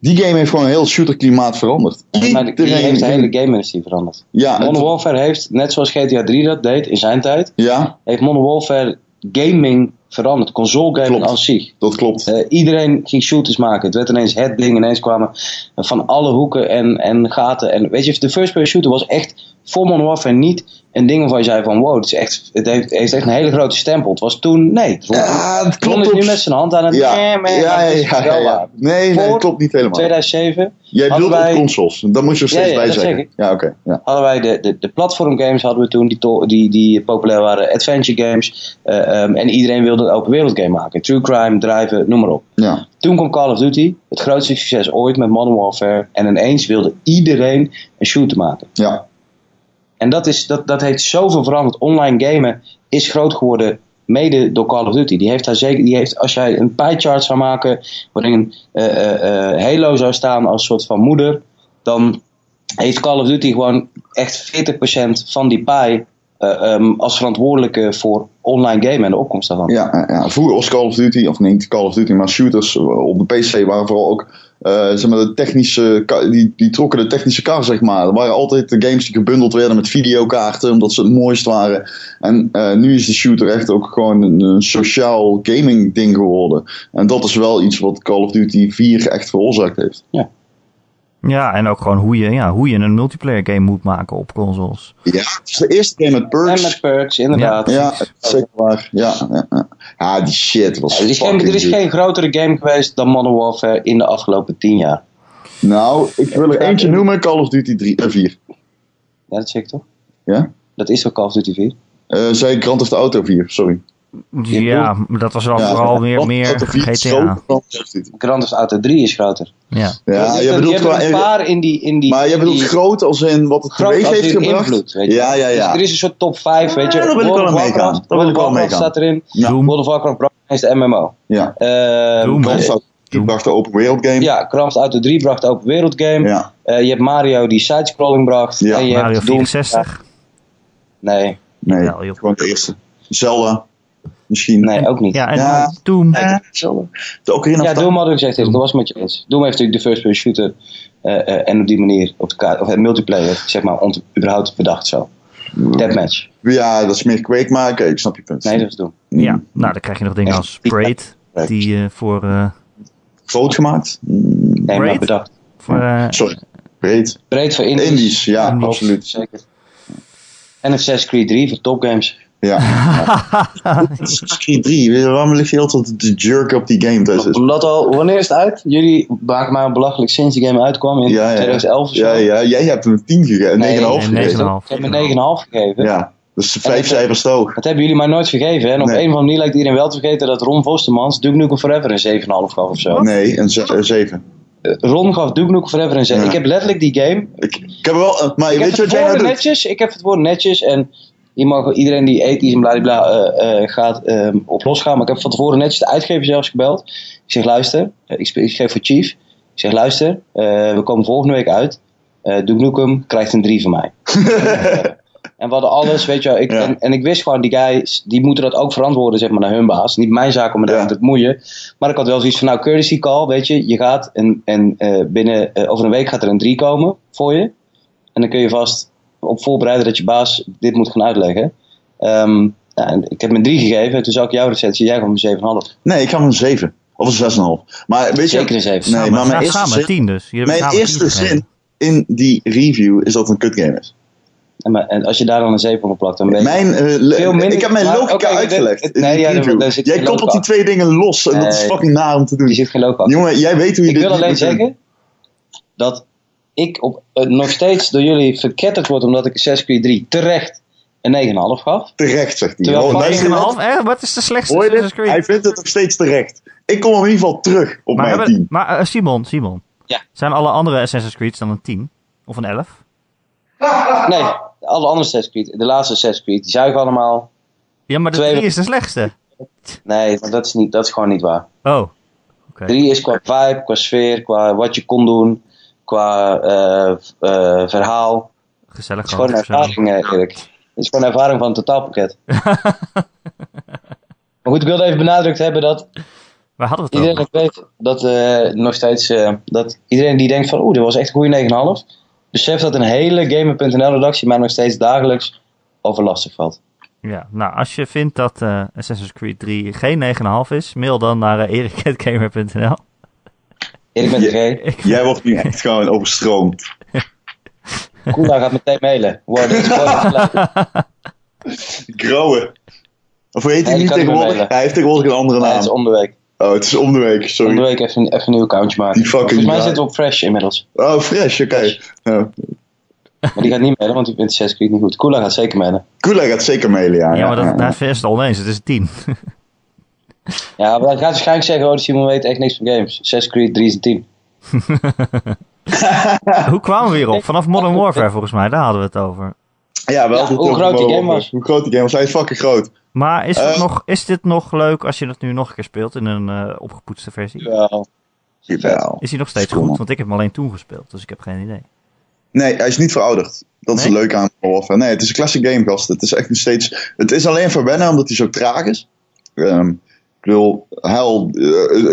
die game heeft gewoon heel shooterklimaat veranderd. Maar die- die heeft de hele game industrie veranderd. Ja, Modern het- Warfare heeft, net zoals GTA 3 dat deed in zijn tijd, ja, heeft Modern Warfare gaming veranderd. Console gaming Klopt. als zich. dat klopt. Eh, iedereen ging shooters maken. Het werd ineens het ding. Ineens kwamen van alle hoeken en, en gaten. En weet je, de first person shooter was echt voor Modern Warfare niet een ding waarvan je zei van wow, het, is echt, het heeft, heeft echt een hele grote stempel. Het was toen, nee. Het was- Ja, het Ron klopt is op... nu met zijn hand aan het... Ja, nee, ja, nee, ja, dat is ja, wel ja, waar. ja. Nee, nee, Voor- klopt niet helemaal. 2007 Jij hadden bedoelt op wij- consoles. Dat moet je er Ja, steeds ja, bij dat zeggen. zeg ik. Ja, oké. ja. hadden wij de, de, de platformgames hadden we toen die, to- die, die populair waren, adventure games. eh, ehm, en iedereen wilde een open wereld game maken. True crime, drijven, noem maar op. ja. Toen kwam Call of Duty, het grootste succes ooit met Modern Warfare. En ineens wilde iedereen een shooter maken. Ja, En dat, is, dat, dat heeft zoveel veranderd. Online gamen is groot geworden mede door Call of Duty. Die heeft daar zeker, die heeft, als jij een pie chart zou maken waarin eh, eh, eh, Halo zou staan als soort van moeder, dan heeft Call of Duty gewoon echt 40% van die pie eh, ehm, als verantwoordelijke voor online gamen en de opkomst daarvan. ja, ja, ja. Vroeger was Call of Duty, of niet Call of Duty, maar shooters eh, op de PC waren vooral ook eh, zeg maar de technische, ka- die, die trokken de technische kar, zeg maar. Er waren altijd de games die gebundeld werden met videokaarten, omdat ze het mooist waren. En eh, nu is de shooter echt ook gewoon een, een sociaal gaming ding geworden. En dat is wel iets wat Call of Duty 4 echt veroorzaakt heeft. Ja, en ook gewoon hoe je, ja, hoe je een multiplayer game moet maken op consoles. Ja, het is de eerste game met En perks. met perks, inderdaad. Ja, Precies. zeker waar. Ja, ja, ja. Ah, die shit was Er is, geen, er is fucking geen grotere game geweest dan Modern Warfare in de afgelopen 10 jaar. Nou, ik wil er eentje noemen, Call of Duty 3, eh, 4. Ja, dat zeg ik toch? Ja? Dat is toch Call of Duty 4? Eh zei ik Grand Theft Auto 4, sorry. Ja, dat was wel vooral weer Grand meer Theft Auto 4 is GTA. groter dan Call of Duty. Grand Theft Auto 3 is groter. Ja. Dus Ja, dat- je die bedoelt hebben qua... er een paar in die... In die Maar je in bedoelt die- groot als in wat het groot teweeg als heeft in gebracht? invloed, weet je. Ja, ja, Dus ja. er is een soort top 5, weet je. Ja, daar wil ik World wel of mee Warcraft- gaan. Daar wil ik wel World of mee Warcraft staat erin. Ja. Doom. World of Warcraft Brown is de MMO. ja. Eh, Doom. Grand Theft Auto 3 bracht de open wereld game. ja, Grand Theft Auto 3 bracht open wereld game. Ja. Eh, je hebt Mario die sidescrolling bracht. Ja, en je Mario hebt Doom. 64. Nee, Nee, Wel, joh. gewoon de eerste. Zelda, misschien. nee, ook niet. Ja, en Ja. toen Doom. Eh, Zelda. De Ocarina Ja, of Time. Doom hadden we gezegd, dat was met je eens. Doom heeft natuurlijk de first-person shooter eh, eh, en op die manier op de kaart, of eh, multiplayer, zeg maar, ont- überhaupt bedacht zo. Deathmatch. Ja, dat is meer kweek maken. Oké, ik snap je punt. Nee, dat is Doom. Mm. Ja, nou dan krijg je nog dingen Echt? als Braid. Die eh, voor, eh, Groot gemaakt. Mm, Nee, maar Braid? bedacht. voor eh, Sorry. Breed. Breed voor Indies. Indies, ja, Indies. absoluut. Zeker. En Assassin's Creed 3 voor topgames. Ja. Assassin's Creed 3. weet je, Waarom lig je altijd te jerk op die game? Dat is, Lotto, wanneer is het uit? Jullie maken mij belachelijk sinds die game uitkwam in ja, ja, 2011 of zo. ja, ja. Jij hebt hem een 10 gegeven. Nee, 9,5 nee, gegeven. nee, 9,5. Ik heb me 9,5 gegeven. Ja. Dus En vijf ik- cijfers te hoog. Dat hebben jullie mij nooit vergeven. hè? En op Nee. een of andere manier lijkt iedereen wel te vergeten dat Ron Vostermans Duke Nukem Forever een 7,5 gaf of zo. Nee, een 7. Eh, Ron gaf Duke Nukem Forever een 7. Ja. Ik heb letterlijk die game. Ik, ik heb wel... eh, Maar weet Ik heb je het wat jij nou woord doet? netjes. Ik heb het woord netjes. En je mag, iedereen die ethisch en bladibla eh, eh, gaat eh, op losgaan. Maar ik heb van tevoren netjes de uitgever zelfs gebeld. Ik zeg luister. eh, ik, spe- ik geef voor Chief. Ik zeg luister. eh, we komen volgende week uit. Eh Duke Nukem krijgt een 3 van mij. En we hadden alles, weet je wel. Ik, Ja. en, en ik wist gewoon, die guys, die moeten dat ook verantwoorden, zeg maar, naar hun baas. Niet mijn zaak om me daar Ja. te bemoeien. Maar ik had wel zoiets van, nou, courtesy call, weet je. Je gaat, en, en eh, binnen, eh, over een week gaat er een drie komen voor je. En dan kun je vast op voorbereiden dat je baas dit moet gaan uitleggen. Ehm, nou, en ik heb hem een drie gegeven. En toen zou ik jouw recensie, jij gaf hem een 7,5. Nee, ik ga hem een 7. Of een 6,5. Maar weet je... Zeker een 7. Nee, samen, maar mijn nou, eerste samen zin... 10 dus. Jullie hebben Mijn samen 10 eerste gegeven. zin in die review is dat het een kutgame is. En, maar- en als je daar dan een 7 op plakt, dan weet je... Mijn, eh, le- Veel minder- ik heb mijn maar- logica oké, dat- uitgelegd. in nee, die ja, daar- review. daar zit jij geen koppelt die logica. twee dingen los en dat is Nee. fucking naar om te doen. Die zit geen loop achter. Jongen, jij weet hoe je Ik dit wil niet alleen moet doen. zeggen dat ik op, eh, nog steeds door jullie verketterd word omdat ik Assassin's Creed 3 terecht een 9,5 gaf. Terecht, zegt hij. Terwijl Oh, van- luister je dat? 9,5? Eh, wat is de slechtste Hoor je Assassin's dit? Creed? Hij vindt het nog steeds terecht. Ik kom in ieder geval terug maar op mijn hebben- team. maar eh, Simon, Simon. Ja. Zijn alle andere Assassin's Creeds dan een 10? Of een 11? Nee, alle andere Assassin's Creed, de laatste Assassin's Creed, die zuigen allemaal. Ja, maar de Twee- 3 is de slechtste. Nee, maar dat is, niet, dat is gewoon niet waar. Oh, 3 is qua vibe, qua sfeer, qua wat je kon doen, qua eh, eh, verhaal. gezellig. Het is gewoon een gewoon. ervaring, eh, Erik. Het is gewoon een ervaring van een totaalpakket. maar goed, ik wilde even benadrukt hebben dat Waar hadden we het Iedereen over? dat weet, dat eh, nog steeds, eh, dat iedereen die denkt van, oeh, dit was echt een goede 9,5, beseft dat een hele Gamer.nl-redactie mij nog steeds dagelijks over lastig valt. Ja, nou, als je vindt dat eh, Assassin's Creed 3 geen 9,5 is, mail dan naar eh, erik.gamer.nl. Erik ben Ja. de G. Jij wordt nu echt gewoon overstroomd. Koela gaat meteen mailen. Worden is gewoon een plek. Grauwe. Of hoe heet hij Nee, die niet kan ik me tegenwoordig? mailen. Hij heeft tegenwoordig een andere Nee, het is naam. om de week. Oh, het is om de week, Om de sorry. week even, even een nieuw accountje maken. Die fucking Volgens mij guy. zitten we op Fresh inmiddels. Oh, fresh, oké. Ja. Maar die gaat niet mailen, want die vindt 6 niet goed. Koela gaat zeker mailen. Kula gaat zeker mailen, ja. Ja, maar ja. dat, dat is het al eens. Het is een tien. Ja, maar hij gaat waarschijnlijk zeggen, oh, Simon weet echt niks van games. 6 Creed, 3 is een team. Hoe kwamen we hierop? Vanaf Modern Warfare volgens mij, daar hadden we het over. Ja, wel. Ja, goed hoe over groot die Modern game Warfare. was. Hoe groot die game was. Hij is fucking groot. Maar is, het Eh. nog, is dit nog leuk als je dat nu nog een keer speelt in een eh, opgepoetste versie? Wel. Jawel. Is hij nog steeds Schommel. goed? Want ik heb hem alleen toen gespeeld, dus ik heb geen idee. Nee, hij is niet verouderd. Dat is Nee? leuk aan Modern Warfare. Nee, het is een classic game, gasten. Het is echt nog steeds... Het is alleen verwennen omdat hij zo traag is. Ehm, ik bedoel, hel, eh,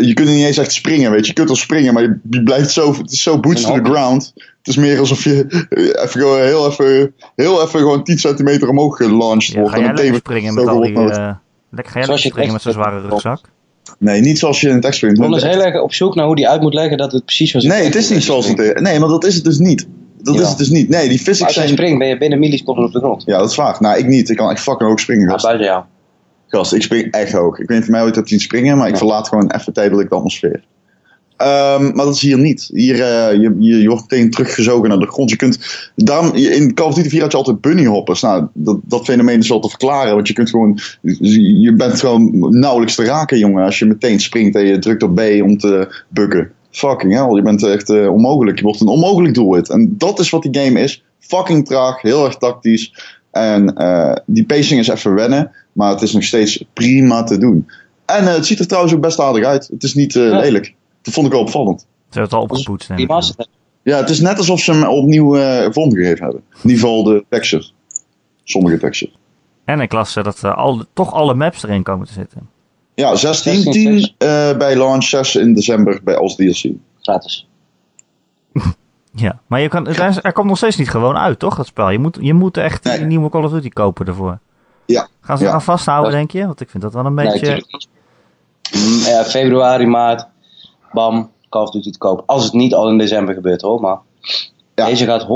je kunt er niet eens echt springen, weet je. Je kunt wel springen, maar je, je blijft zo... Het is zo boots Een to the hap. ground. Het is meer alsof je eh, even, gewoon heel, even, heel even gewoon 10 centimeter omhoog gelaunched Ja, wordt. ga jij lekker meteen weer springen met gestoken al die... wordt naar het- eh, lekker, ga jij Zoals lekker je springen met het zo'n echt- zware rugzak? Nee, niet zoals je in het echt springt. Ron is Nee, heel erg op zoek naar hoe die uit moet leggen dat het precies was. Nee, het is niet zoals het is. Nee, maar dat is het dus niet. Dat is Jawel. het dus niet. Nee, die physics Als je zijn... springt ben je binnen milliseconden op de grond. Ja, dat is waar. Nou, ik niet. Ik kan echt fucking hoog springen, Ja, gast. buiten jou. Gast, ik spring echt hoog. Ik weet niet of je mij ooit hebt zien springen, maar ik Ja. verlaat gewoon even tijdelijk de atmosfeer. Ehm, maar dat is hier niet. Hier, eh, je, je, je wordt meteen teruggezogen naar de grond. Je kunt, daarom, je- in Call of Duty 4 had je altijd bunnyhoppers. Nou, dat, dat fenomeen is wel te verklaren. Want je, kunt gewoon, je bent gewoon nauwelijks te raken, jongen. Als je meteen springt en je drukt op B om te bukken. Fucking hell, je bent echt eh, onmogelijk. Je wordt een onmogelijk doelwit. En dat is wat die game is. Fucking traag, heel erg tactisch. En eh, die pacing is even wennen. Maar het is nog steeds prima te doen. En eh, het ziet er trouwens ook best aardig uit. Het is niet eh, Ja. lelijk. Dat vond ik wel opvallend. Ze hebben het al opgepoetst. neem Die ik aan. master. Ja, het is net alsof ze hem opnieuw eh vorm gegeven hebben. In ieder geval de texture. Sommige texture. En ik las eh, dat eh, al, toch alle maps erin komen te zitten. Ja, 16, 16, 10 eh, bij launch, 6 in december bij als DLC. Gratis. Ja, maar je kan, het, is- er komt nog steeds niet gewoon uit, toch, dat spel? Je moet, je moet echt Nee. een nieuwe Call of Duty kopen daarvoor. Ja. Gaan ze Ja. eraan vasthouden, denk je? Want ik vind dat wel een Nee, beetje... natuurlijk niet. Mm, ja, februari, maart. Bam. Call of Duty te koop. Als het niet al in december gebeurt hoor. Maar Ja. deze gaat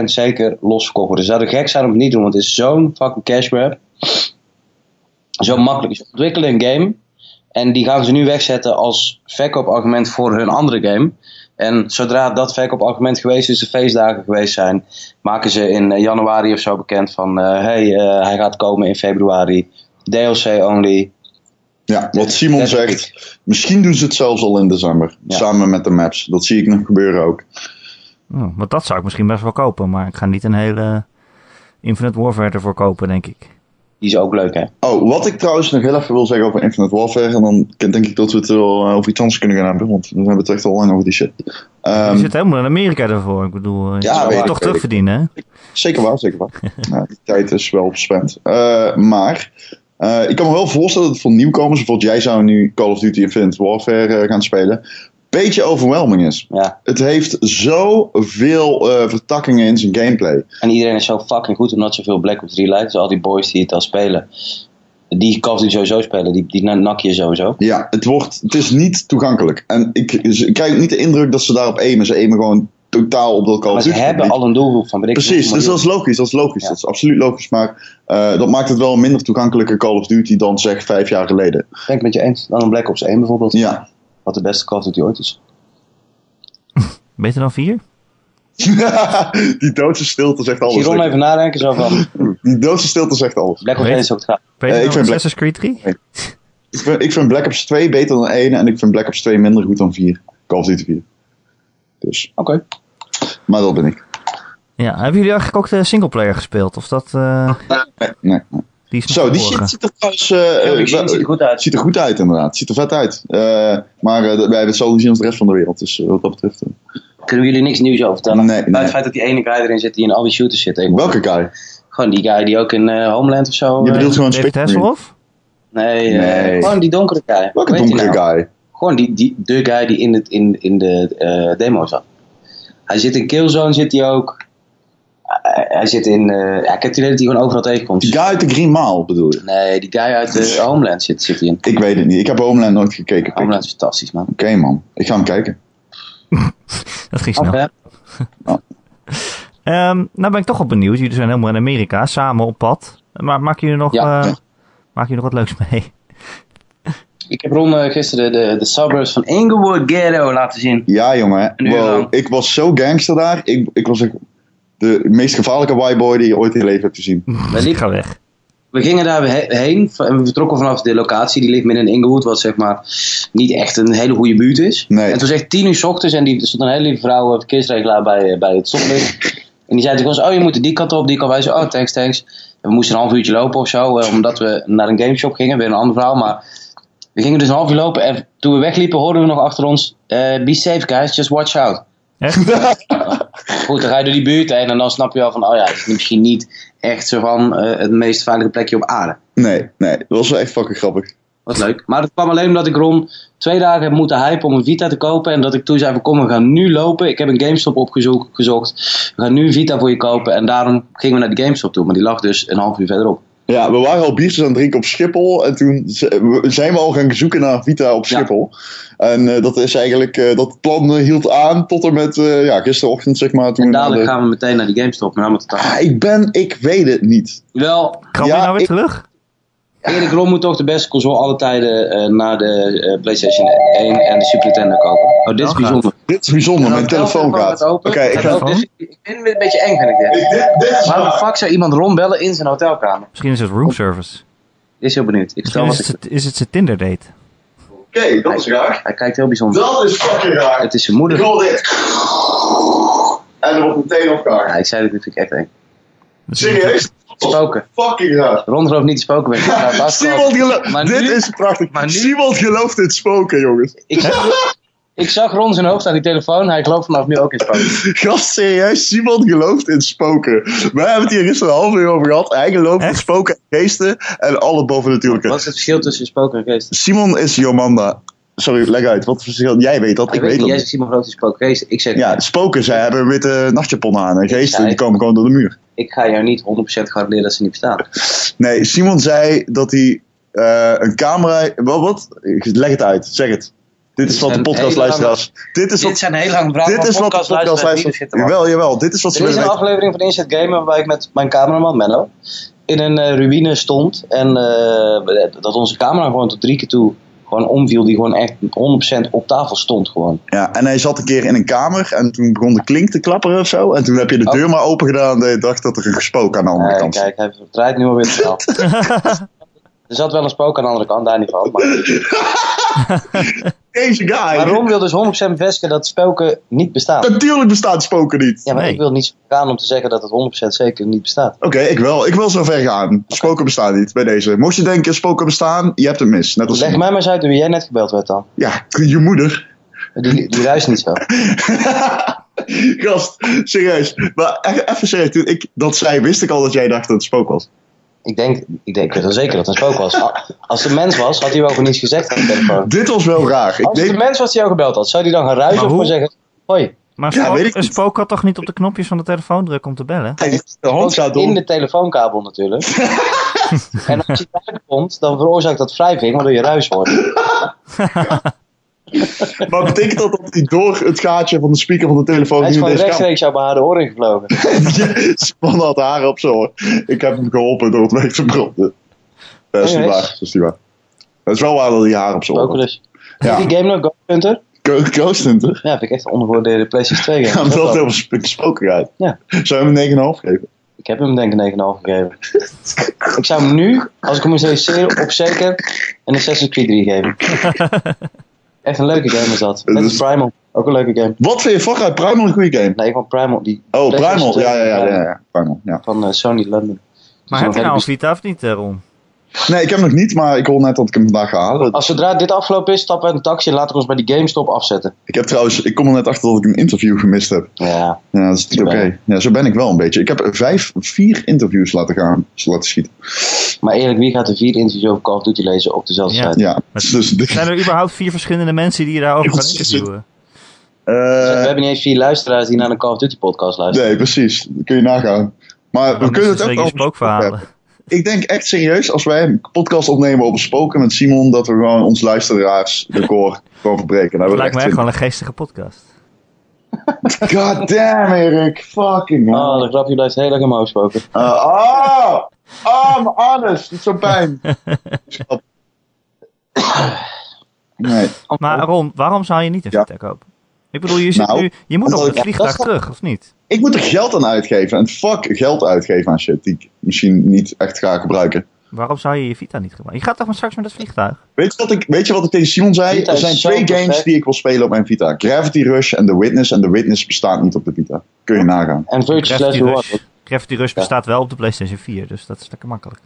100% zeker losverkocht worden. Ze zouden gek zijn om het niet te doen. Want het is zo'n fucking cash grab. Zo makkelijk. Ze ontwikkelen een game. En die gaan ze nu wegzetten als verkoopargument voor hun andere game. En zodra dat verkoopargument geweest is, de feestdagen geweest zijn, maken ze in eh, januari of zo bekend van: eh, hey, eh, hij gaat komen in februari. DLC only. Ja, wat Simon Dat- zegt. Misschien doen ze het zelfs al in december. Ja. Samen met de maps. Dat zie ik nog gebeuren ook. Oh, want dat zou ik misschien best wel kopen, maar ik ga niet een hele Infinite Warfare ervoor kopen, denk ik. Die is ook leuk, hè? Oh, wat ik trouwens nog heel even wil zeggen over Infinite Warfare. En dan denk ik dat we het wel eh, over iets anders kunnen gaan hebben. Want we hebben het echt al lang over die shit. Ehm, je zit helemaal in Amerika daarvoor. Ik bedoel, eh, je Ja, zou weet het toch ik, weet ik. terugverdienen, hè? Zeker waar, zeker waar. Ja, die tijd is wel bespend. Eh, maar eh, ik kan me wel voorstellen dat voor nieuwkomers, bijvoorbeeld jij zou nu Call of Duty Infinite Warfare eh, gaan spelen, beetje overwhelming is. Ja. Het heeft zoveel eh vertakkingen in zijn gameplay. En iedereen is zo fucking goed omdat zoveel Black Ops 3 lijkt. Dus al die boys die het al spelen, die Call of Duty sowieso spelen, die, die nak je sowieso. Ja, het, wordt, het is niet toegankelijk. En ik, ik krijg niet de indruk dat ze daarop aimen. Ze aimen gewoon totaal op dat Call Maar of ze Duty. hebben publiek. al een doelgroep van. weet ik Precies, hoeveel dus dat is miljoen. logisch. Dat is logisch. Ja. Dat is absoluut logisch. Maar eh, dat maakt het wel een minder toegankelijke Call of Duty dan zeg vijf jaar geleden. Ik Ben ik met je eens? Dan een Black Ops 1 bijvoorbeeld. Ja, Wat de beste Call of Duty ooit is. Beter dan vier? die doodse stilte zegt alles. Giron even nadenken zo van. Die doodse stilte zegt alles. Black Ops Weet- 1 is ook gaaf. Beter Eh, ik dan vind Assassin's Creed 3? Ik vind, ik vind Black Ops 2 beter dan 1 en ik vind Black Ops 2 minder goed dan 4. Call of Duty 4. Dus, Oké. maar dat ben ik. Ja, hebben jullie eigenlijk ook de singleplayer gespeeld? Of dat... eh, Nee, nee. die is nog Zo, die verborgen? shit ziet er trouwens... eh, Heel die eh, shit ziet er goed uit. Ziet er goed uit, inderdaad. Ziet er vet uit. Eh, maar eh, wij hebben hetzelfde gezien als de rest van de wereld. Dus eh, wat dat betreft... eh. Kunnen we jullie niks nieuws over vertellen? Nee, Buiten nee. het feit dat die ene guy erin zit die in al die shooters zit. Ik- Welke guy? Gewoon die guy die ook in eh, Homeland of zo. Je eh, bedoelt gewoon... David Spectre. Hasselhoff? Nee, eh, Nee. gewoon die donkere guy. Welke Hoe heet die donkere nou? guy? Gewoon die, die, de guy die in, het, in, in de eh, demo zat. Hij zit in Killzone, zit hij ook. Hij, hij zit in. eh, ja, ik heb het idee dat hij gewoon overal tegenkomt. Die guy uit de Green Mile bedoel je? Nee, die guy uit de Homeland zit, zit hij in. Ik weet het niet. Ik heb Homeland nooit gekeken. Pik. Oké Homeland is fantastisch, man. man, ik ga hem kijken. Ah, Dat ging snel. Oké. Ja. Ehm, nou ben ik toch wel benieuwd. Jullie zijn helemaal in Amerika, samen op pad. Maar maken jullie nog, Ja. eh, maken jullie nog wat leuks mee? Ik heb Ron eh, gisteren de, de, de suburbs van Inglewood Ghetto laten zien. Ja, jongen. En nu Wow. dan? Ik was zo gangster daar. Ik, ik was echt de meest gevaarlijke white boy die je ooit in je leven hebt gezien. Wij Ik liepen- ga weg. We gingen daar he- heen en we vertrokken vanaf de locatie. Die ligt midden in Inglewood, wat zeg maar niet echt een hele goede buurt is. Nee. En het was echt tien uur 's ochtends en die, er stond een hele lieve vrouw, eh, verkeersregelaar bij, eh, bij het stoplicht. En die zei tegen ons, oh je moet die kant op, die kant op. Wij zeiden, oh thanks, thanks. En we moesten een half uurtje lopen of zo, eh, omdat we naar een gameshop gingen. Weer een ander verhaal, maar we gingen dus een half uur lopen. En toen we wegliepen hoorden we nog achter ons, eh, be safe guys, just watch out. Echt? Goed, dan ga je door die buurt heen en dan snap je wel van, oh ja, het is misschien niet echt zo van eh, het meest veilige plekje op aarde. Nee, nee. Dat was wel echt fucking grappig. Wat leuk. Maar dat kwam alleen omdat ik Ron twee dagen heb moeten hypen om een Vita te kopen. En dat ik toen zei van kom, we gaan nu lopen. Ik heb een GameStop opgezocht. gezocht. We gaan nu een Vita voor je kopen. En daarom gingen we naar de GameStop toe. Maar die lag dus een half uur verderop. Ja, we waren al biertjes aan het drinken op Schiphol. En toen z- we- zijn we al gaan zoeken naar Vita op Ja. Schiphol. En eh, dat is eigenlijk, eh, dat plan eh, hield aan tot en met eh, ja, gisterochtend, zeg maar. Toen En we naar dadelijk de- gaan we meteen naar die GameStop. Maar dan moet het toch- Ah, ik ben, ik weet het niet. Wel, Kan je Ja, nou weer ik- terug? Erik Ron moet toch de beste console alle tijden eh, na de eh, PlayStation 1 en de Super Nintendo kopen. Oh, dit Nou is gaat. bijzonder. Dit is bijzonder, En dan mijn telefoon gaat. Oké, open. ik ga... Gaat Dit is- Ik vind het een beetje eng, vind ik dit. Waarom fuck zou iemand Ron bellen in zijn hotelkamer? Misschien is het roomservice. Is heel benieuwd. Ik vertel Misschien wat is ik... het, is het zijn Tinder date. Oké, dat is raar. Hij kijkt heel bijzonder. Dat is fucking raar. Het is zijn moeder. hoor dit. En er wordt meteen Ja, elkaar. ik zei dit natuurlijk echt eng. Dat is- Serieus? Spoken. Fucking raar. Ron gelooft niet te spoken ben. Ik ga het Simon afkopen. gelooft... Maar Dit nu- is prachtig. maar nu- Simon gelooft in spoken, jongens. ik, zag- ik zag Ron zijn hoofd aan die telefoon. Hij gelooft vanaf nu ook in spoken. Gast, serieus, Simon gelooft in spoken. Wij hebben het hier gisteren een half uur over gehad. Hij gelooft in Echt? spoken, geesten en alle bovennatuurlijke. Wat is het verschil tussen spoken en geest? Simon is Jomanda. Sorry, leg uit. Wat voor verschil? Jij weet dat, ik weet dat. Jij niet. zegt Simon gelooft in spoken. Geest, ik zeg, Ja, spoken, zij hebben een witte nachtjapon aan. En geesten, Ja, die ik- komen gewoon door de muur. ik ga jou niet 100% garanderen dat ze niet bestaan. Nee, Simon zei dat hij eh, een camera... Wat, wat? Leg het uit, zeg het. Dit is wat de zijn podcastluisteraars... Dit is Dit wat, zijn heel lang dit is wat de podcastluisteraars... Jawel, jawel. Dit is wat ze Er is willen een weten. aflevering van Inside Gamer waarbij ik met mijn cameraman Menno in een eh, ruïne stond. En eh, dat onze camera gewoon tot drie keer toe gewoon omviel. Die gewoon echt 100% op tafel stond gewoon. Ja, en hij zat een keer in een kamer en toen begon de klink te klapperen of zo. En toen heb je de Oh. deur maar open gedaan en ik dacht dat er een spook aan de andere Eh, kant zat. kijk, hij draait nu alweer het verhaal. Er zat wel een spook aan de andere kant, daar niet van. Maar, Deze guy! maar Ron wil dus 100% bevestigen dat spoken niet bestaan. Natuurlijk bestaat spoken niet! Ja, maar Nee. ik wil niet zo gaan om te zeggen dat het 100% zeker niet bestaat. Oké, ik wel. Ik wil zo ver gaan. Spoken bestaan niet bij deze. Mocht je denken, spoken bestaan, je hebt het mis. Net als... Leg mij maar eens uit hoe jij net gebeld werd dan. Ja, je moeder. Die, die ruist niet zo. Gast, serieus. Maar e- even serieus, toen ik dat zei, wist ik al dat jij dacht dat het spook was. Ik denk, ik denk dus wel zeker dat het een spook was. A- Ah. Als het een mens was, had hij wel gewoon iets gezegd aan de telefoon. Dit was wel raar. Ik Als het een denk... mens was die jou gebeld had, zou die dan gaan ruizen Maar of hoe? gewoon zeggen... Hoi, Maar Ja, spook, weet ik een niet. spook had toch niet op de knopjes van de telefoon drukken om te bellen? De hand gaat in om. de telefoonkabel natuurlijk. en als je daar komt, dan veroorzaakt dat wrijving, waardoor je ruis hoort. Maar betekent dat dat hij door het gaatje van de speaker van de telefoon... Hij is nu gewoon deze kamer- rechtstreeks jouw behaarde oren gevlogen. Span had haar op zo. hoor. Ik heb hem geholpen door het weg te branden. Dat is Oh, niet yes. waar. Dat is niet waar. Het is wel waar dat hij haar op zijn oor Ook had. dus. Ja. Die game nog, Ghost Hunter? Go- Ghost Hunter? Ja, vind ik echt een ongewaardeerde PlayStation 2 Ja, game. maar dat heel sp- spoken uit. Ja. Zou je hem een 9,5 geven? Ik heb hem denk ik een 9,5 gegeven. ik zou hem nu, als ik hem eens realiseer, op zeker een Assassin's Creed 3 geven. Echt een leuke game is dat. Net als is- Primal, ook een leuke game. Wat vind je Far Cry Primal een goede game? Nee, van Primal, die Oh, Primal. PlayStation 2 Ja, ja, ja. ja, Primal ja. Primal, ja. van eh, Sony London. Maar Zo'n heb je nou hele een Vita of niet, eh, Ron? Nee, ik heb hem nog niet, maar ik hoor net dat ik hem vandaag ga halen. Als zodra dit afgelopen is, stappen we uit een taxi en laten we ons bij die GameStop afzetten. Ik heb trouwens, ik kom er net achter dat ik een interview gemist heb. Ja, Ja, dat is niet Zo oké. ben je. Ja, zo ben ik wel een beetje. Ik heb vijf, vier interviews laten gaan, laten schieten. maar eerlijk, wie gaat de vier interviews over Call of Duty lezen op dezelfde Ja. site? Ja, Maar- dus dit- Zijn er überhaupt vier verschillende mensen die je daarover kan interviewen? Dus eh, we hebben niet eens vier luisteraars die naar een Call of Duty podcast luisteren. Nee, precies. Dat kun je nagaan. Maar we Dan kunnen het is ook zeker over spookverhalen. Ik denk echt serieus, als wij een podcast opnemen over spoken met Simon, dat we gewoon ons luisteraarsrecord gewoon verbreken. Dat Het lijkt me echt wel een geestige podcast. God damn, Erik. Fucking hell. Oh, dat grapje blijft heel erg in mijn hoofd spoken. Eh, ah! Ah, mijn anus. Dat is zo pijn. Nee. Maar Ron, waarom zou je niet een Ja. VTEC kopen? Ik bedoel, je, zit Nou, nu, je moet nog omdat op het ik- vliegtuig dat is- terug, of niet? Ik moet er geld aan uitgeven. En fuck geld uitgeven aan shit die ik misschien niet echt ga gebruiken. Waarom zou je je Vita niet gebruiken? Je gaat toch maar straks met het vliegtuig? Weet je, wat ik, weet je wat ik tegen Simon zei? Vita er is zijn zo twee perfect. games die ik wil spelen op mijn Vita. Gravity Rush en The Witness. En The Witness bestaat niet op de Vita. Kun je nagaan. En Virtual Last Gravity Rush, Reward. Gravity Rush bestaat wel op de PlayStation 4, dus dat is lekker makkelijk.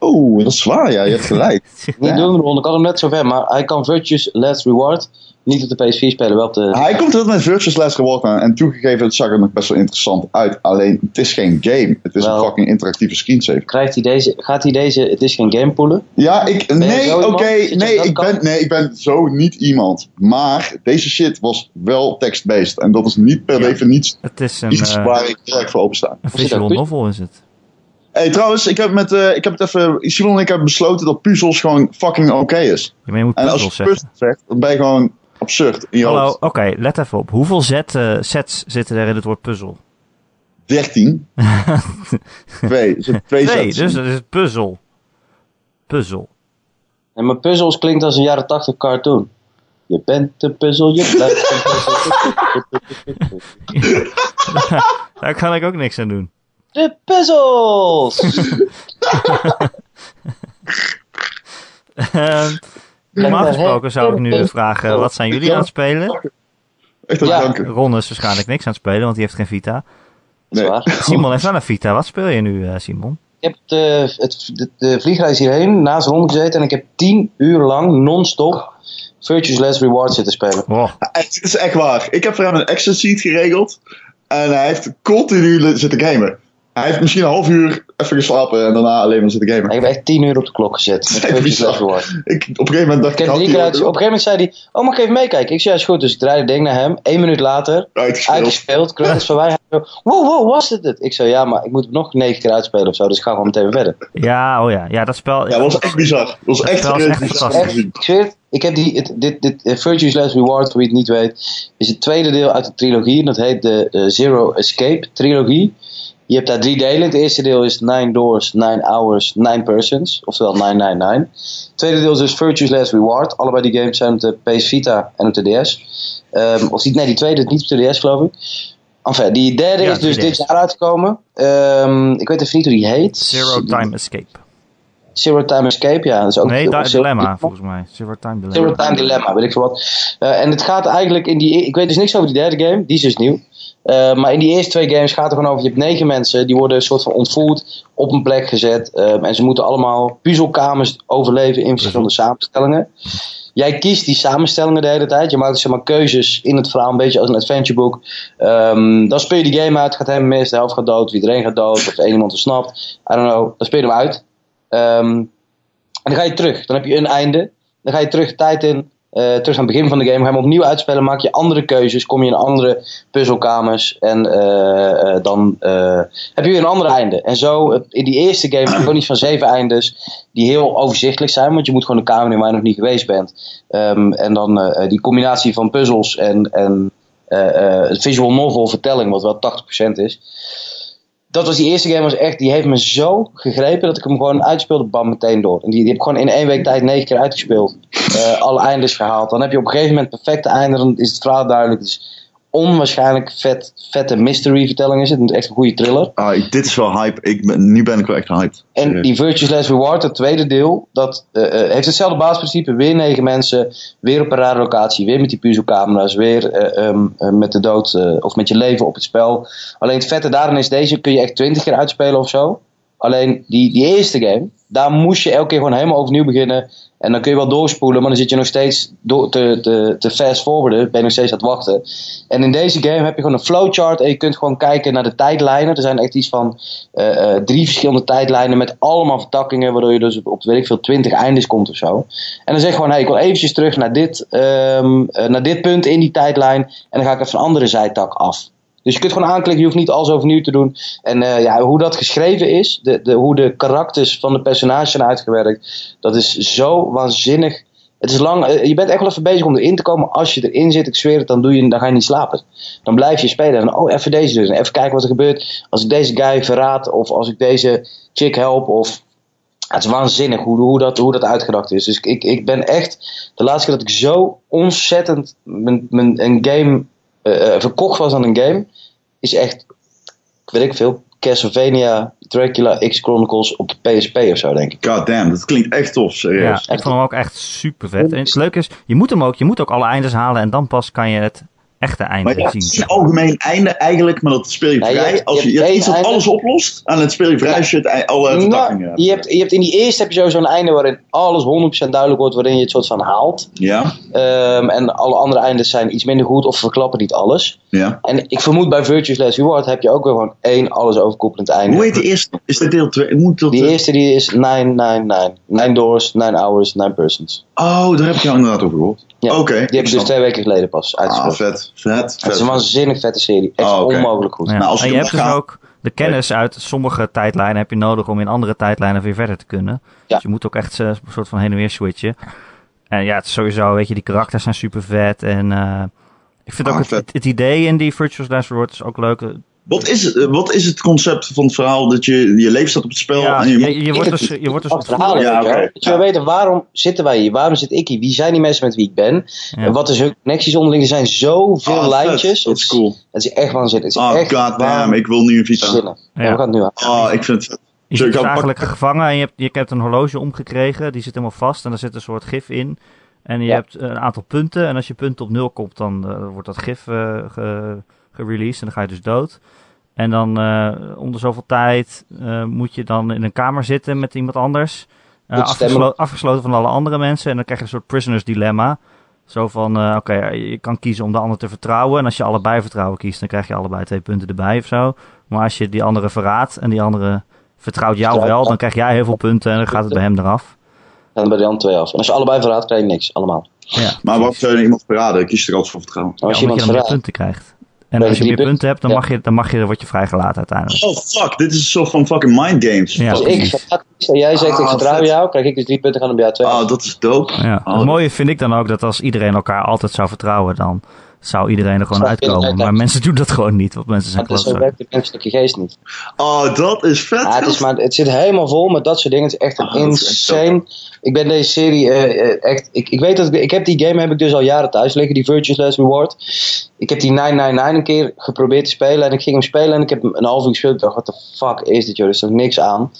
Oeh, dat is waar. Ja, je hebt gelijk. Niet Ja. doen, Ron. Ik had hem net zo ver, maar hij kan Virtual Last Reward niet op de PS4 spelen, wel op de... Hij komt heel met Virtuous Last Reward aan. En toegegeven, het zag er nog best wel interessant uit. Alleen, het is geen game. Het is Wel. een fucking interactieve screensaver. Krijgt hij deze, gaat hij deze, het is geen game poelen. Ja, ik. je Nee, zo oké. iemand? Zit je nee, aan dat ik ben, kant? nee, ik ben zo niet iemand. Maar deze shit was wel text-based. En dat is niet per Ja. definitie Het is een, iets eh, waar ik direct voor openstaan. een zit er visual een pu- novel, is het. hey, trouwens, ik heb, met, eh, ik heb het even. Simon en ik hebben besloten dat puzzels gewoon fucking oké is. Ja, maar je moet En als je puzzels zeggen. puzzels zegt, dan ben je gewoon absurd in je Hallo, hoofd. oké, let even op. Hoeveel zet, eh, sets zitten er in het woord puzzel? 13. twee. Er zitten twee, Nee, sets. dus dat is het puzzel. Puzzel. En mijn puzzels klinkt als een jaren 80 cartoon. Je bent een puzzel, je blijft een puzzel. Daar kan ik ook niks aan doen. De puzzels! Ehm, Normaal gesproken zou ik nu vragen, wat zijn jullie aan het spelen? Echt een Ja. janker. Ron is waarschijnlijk niks aan het spelen, want die heeft geen Vita. Dat is Nee. waar. Simon heeft wel een Vita. Wat speel je nu, eh, Simon? Ik heb de, het, de, de vliegreis hierheen naast Ron gezeten en ik heb 10 uur lang non-stop Virtuous Last Reward zitten spelen. Oh, Het is echt waar. Ik heb voor hem een extra seat geregeld. En hij heeft continu li- zitten gamen. Hij heeft misschien een half uur even geslapen en daarna alleen maar zitten gamen. Ik heb echt 10 uur op de klok gezet met Echt Virtuous bizar. Last Reward. Ik, op een gegeven moment dacht Ik heb had drie hij keer wel uit- op een gegeven moment zei hij, oh mag ik even meekijken? Ik zei, ja is goed. Dus ik draai het ding naar hem. Eén minuut later, uitgespeeld. uitgespeeld. Kruk is van mij. Hij zo, wow, wow, was dit het? Ik zei, ja, maar ik moet het nog negen keer uitspelen of zo. Dus ik ga gewoon meteen weer verder. ja, oh ja. Ja, dat spel... Ja, dat was echt bizar. Dat was echt, Dat was echt serieus fantastisch. bizar. En ik zweer het, ik heb die, het, dit, dit eh, Virtuous Last Reward, voor wie het niet weet, is het tweede deel uit de trilogie. En dat heet de eh, Zero Escape trilogie. Je hebt daar drie delen. Het eerste deel is Nine Doors, Nine Hours, Nine Persons. Oftewel 999. Het tweede deel is dus Virtuous Last Reward. Allebei die games zijn op de PS Vita en op de DS. Ehm, of die, nee, die tweede is niet op de DS, geloof ik. Enfin, die derde Ja, is dus 3DS. dit jaar uitgekomen. Ehm, ik weet even niet hoe die heet. Zero Time Escape. Zero Time Escape, ja. Dat is ook Oh, Nee, Di- Zero- Dilemma, volgens mij. Zero Time Zero Dilemma. Time Dilemma, weet ik veel wat. Eh, en het gaat eigenlijk in die. Ik weet dus niks over die derde game, die is dus nieuw. Eh, maar in die eerste twee games gaat het gewoon over: je hebt negen mensen, die worden een soort van ontvoerd, op een plek gezet. eh, en ze moeten allemaal puzzelkamers overleven in verschillende samenstellingen. Jij kiest die samenstellingen de hele tijd. Je maakt zeg maar keuzes in het verhaal, een beetje als een adventureboek. Ehm, dan speel je die game uit, gaat hem mis, de helft gaat dood, of iedereen gaat dood, of één iemand ontsnapt. I don't know, dan speel je hem uit. Ehm, en dan ga je terug, dan heb je een einde. Dan ga je terug de tijd in, eh, terug naar het begin van de game. Ga je hem opnieuw uitspelen, maak je andere keuzes. Kom je in andere puzzelkamers. En eh, eh, dan eh, heb je weer een ander einde. En zo, eh, in die eerste game, heb je gewoon iets van zeven eindes. Die heel overzichtelijk zijn, want je moet gewoon een kamer in waar je nog niet geweest bent. Ehm, en dan eh, eh, die combinatie van puzzels en, en eh, eh, visual novel vertelling, wat wel 80% is. Dat was die eerste game, was echt, die heeft me zo gegrepen dat ik hem gewoon uitspeelde, bam, meteen door. En die, die heb ik gewoon in één week tijd negen keer uitgespeeld. Eh, alle eindes gehaald. Dan heb je op een gegeven moment perfecte einde, dan is het verhaal duidelijk. Het is onwaarschijnlijk vet, vette mystery vertelling is het. Het is echt een goede thriller. Ah, ik- dit is wel hype. Ik ben, nu ben ik wel echt hyped. En die Virtuous Last Reward, het tweede deel, dat eh, eh, heeft hetzelfde basisprincipe. Weer negen mensen, weer op een rare locatie, weer met die puzzelcamera's, weer eh, ehm, eh, met de dood eh, of met je leven op het spel. Alleen het vette daarin is, deze kun je echt twintig keer uitspelen of zo. Alleen die, die eerste game, daar moest je elke keer gewoon helemaal overnieuw beginnen. En dan kun je wel doorspoelen, maar dan zit je nog steeds door te, te, te fast-forwarden. Ben je nog steeds aan het wachten. En in deze game heb je gewoon een flowchart. En je kunt gewoon kijken naar de tijdlijnen. Er zijn echt iets van eh, eh, drie verschillende tijdlijnen met allemaal vertakkingen. Waardoor je dus op, op weet ik veel, twintig eindes komt of zo. En dan zeg je gewoon, hey, ik wil eventjes terug naar dit, ehm, eh, naar dit punt in die tijdlijn. En dan ga ik even een andere zijtak af. Dus je kunt gewoon aanklikken, je hoeft niet alles overnieuw te doen. En eh, ja, hoe dat geschreven is, de, de, hoe de karakters van de personages zijn uitgewerkt, dat is zo waanzinnig Het is lang, eh, je bent echt wel even bezig om erin te komen. Als je erin zit, ik zweer het, dan, doe je, dan ga je niet slapen. Dan blijf je spelen. En oh, even deze dus. En even kijken wat er gebeurt. Als ik deze guy verraad, of als ik deze chick help, of het is waanzinnig hoe, hoe, dat, hoe dat uitgedacht is. Dus ik, ik ben echt. De laatste keer dat ik zo ontzettend mijn, mijn, een game eh, eh, verkocht was aan een game. Is echt, weet ik veel, Castlevania, Dracula, X Chronicles op de PSP of zo, denk ik. God damn, dat klinkt echt tof, Ja, serieus. Dus ik vond hem ook echt super vet. En het leuke is, je moet hem ook, je moet ook alle eindes halen en dan pas kan je het echte einde Maar ja, het zien. is een zeg maar. algemeen einde eigenlijk, maar dat speel je Ja, je vrij. hebt- Als je, je je hebt hebt iets dat één alles oplost, en het speel je vrij als je het ei- alle vertakkingen Nou, je, hebt, je hebt in die eerste heb je sowieso een einde waarin alles 100% duidelijk wordt, waarin je het soort van haalt. Ja, Ehm, en alle andere eindes zijn iets minder goed of verklappen niet alles. ja. En ik vermoed bij Virtue's Last Reward heb je ook weer gewoon één alles overkoepelend einde. Hoe heet de eerste? Is dit deel 2? Moet dat... Die eerste die is 999. 9 doors, 9 hours, 9 persons. Oh, daar heb ik jou inderdaad over gehoord. Ja, Oké, die ik heb ik dus snap. twee weken geleden pas Ah, uitgesproken. vet, vet, het is een vet. waanzinnig vette serie. Echt Ah, oké. onmogelijk goed. Ja. Nou, als en ik je hem hebt dus ga- ook de kennis uit sommige tijdlijnen heb je nodig om in andere tijdlijnen weer verder te kunnen. Dus je moet ook echt eh, een soort van heen en weer switchen. En ja, het is sowieso, weet je, die karakters zijn super vet. En eh, ik vind Ah, ook het, vet. het idee in die Virtual Last Reward is ook leuk. Wat is, het- wat is het concept van het verhaal dat je, je leven staat op het spel Ja, en je, je, moet- je, wordt dus, je wordt dus ontvoerd. achterhalen. Ja, weet je wel. oké. Dat je wil Dus weten waarom zitten wij hier? Waarom zit ik hier? Wie zijn die mensen met wie ik ben? Ja. En wat is hun connecties onderling? Er zijn zoveel Ah, vet. lijntjes. Dat is cool. Het is echt waanzinnig. Het is Oh, echt god damn, ik wil nu een Vita. waanzinnig. Ja. Ja. we gaan het nu aan. Oh, ik vind het vet. Je Zo, zit ik dus hou- eigenlijk gevangen en je hebt, je hebt een horloge omgekregen. Die zit helemaal vast en er zit een soort gif in. En je Ja. hebt een aantal punten. En als je punt op nul komt, dan eh, wordt dat gif eh ge- gereleased. En dan ga je dus dood. En dan eh onder zoveel tijd eh, moet je dan in een kamer zitten met iemand anders. Eh, Moet stemmen. afgeslo- afgesloten van alle andere mensen. En dan krijg je een soort prisoners dilemma. Zo van, eh, oké, je kan kiezen om de ander te vertrouwen. En als je allebei vertrouwen kiest, dan krijg je allebei twee punten erbij of zo. Maar als je die andere verraadt en die andere vertrouwt jou Vertrouwt wel, jou. dan krijg jij heel veel punten en dan gaat het bij hem eraf. En dan bij de andere twee af. En als je allebei verraadt, krijg je niks. Allemaal. Ja, Maar waarom zou je nou iemand verraden? Ik kies er altijd voor vertrouwen. En als Ja, je omdat iemand je dan meer verraadt. punten krijgt. En Nee, als je die meer punt- punten hebt, dan, ja. mag je, dan, mag je, dan word je vrijgelaten uiteindelijk. Oh fuck, dit is een soort van fucking mind games. Oh, Ja. Als Fuck. ik verraad kies en jij zegt ik Ah, vertrouw vet. jou, krijg ik dus drie punten gaan op jou twee. Oh, dat is dope. Ja. Oh, het mooie vind ik dan ook dat als iedereen elkaar altijd zou vertrouwen, dan zou iedereen er gewoon Zou iedereen uitkomen. Maar uitkomen. mensen doen dat gewoon niet, want mensen zijn Maar dat is zo klootzakken. werkt de menselijke geest niet. oh, dat is vet. Ja, Ah, het, is maar, het zit helemaal vol met dat soort dingen. Het is echt Ah, dat is echt zo. insane. Ik ben deze serie eh, eh, echt. Ik, ik weet dat ik, ik heb die game heb ik dus al jaren thuis liggen, die Virtuous Last Reward. Ik heb die 999 een keer geprobeerd te spelen en ik ging hem spelen en ik heb hem een half uur gespeeld. Ik dacht, wat de fuck is dit joh, er is toch niks aan.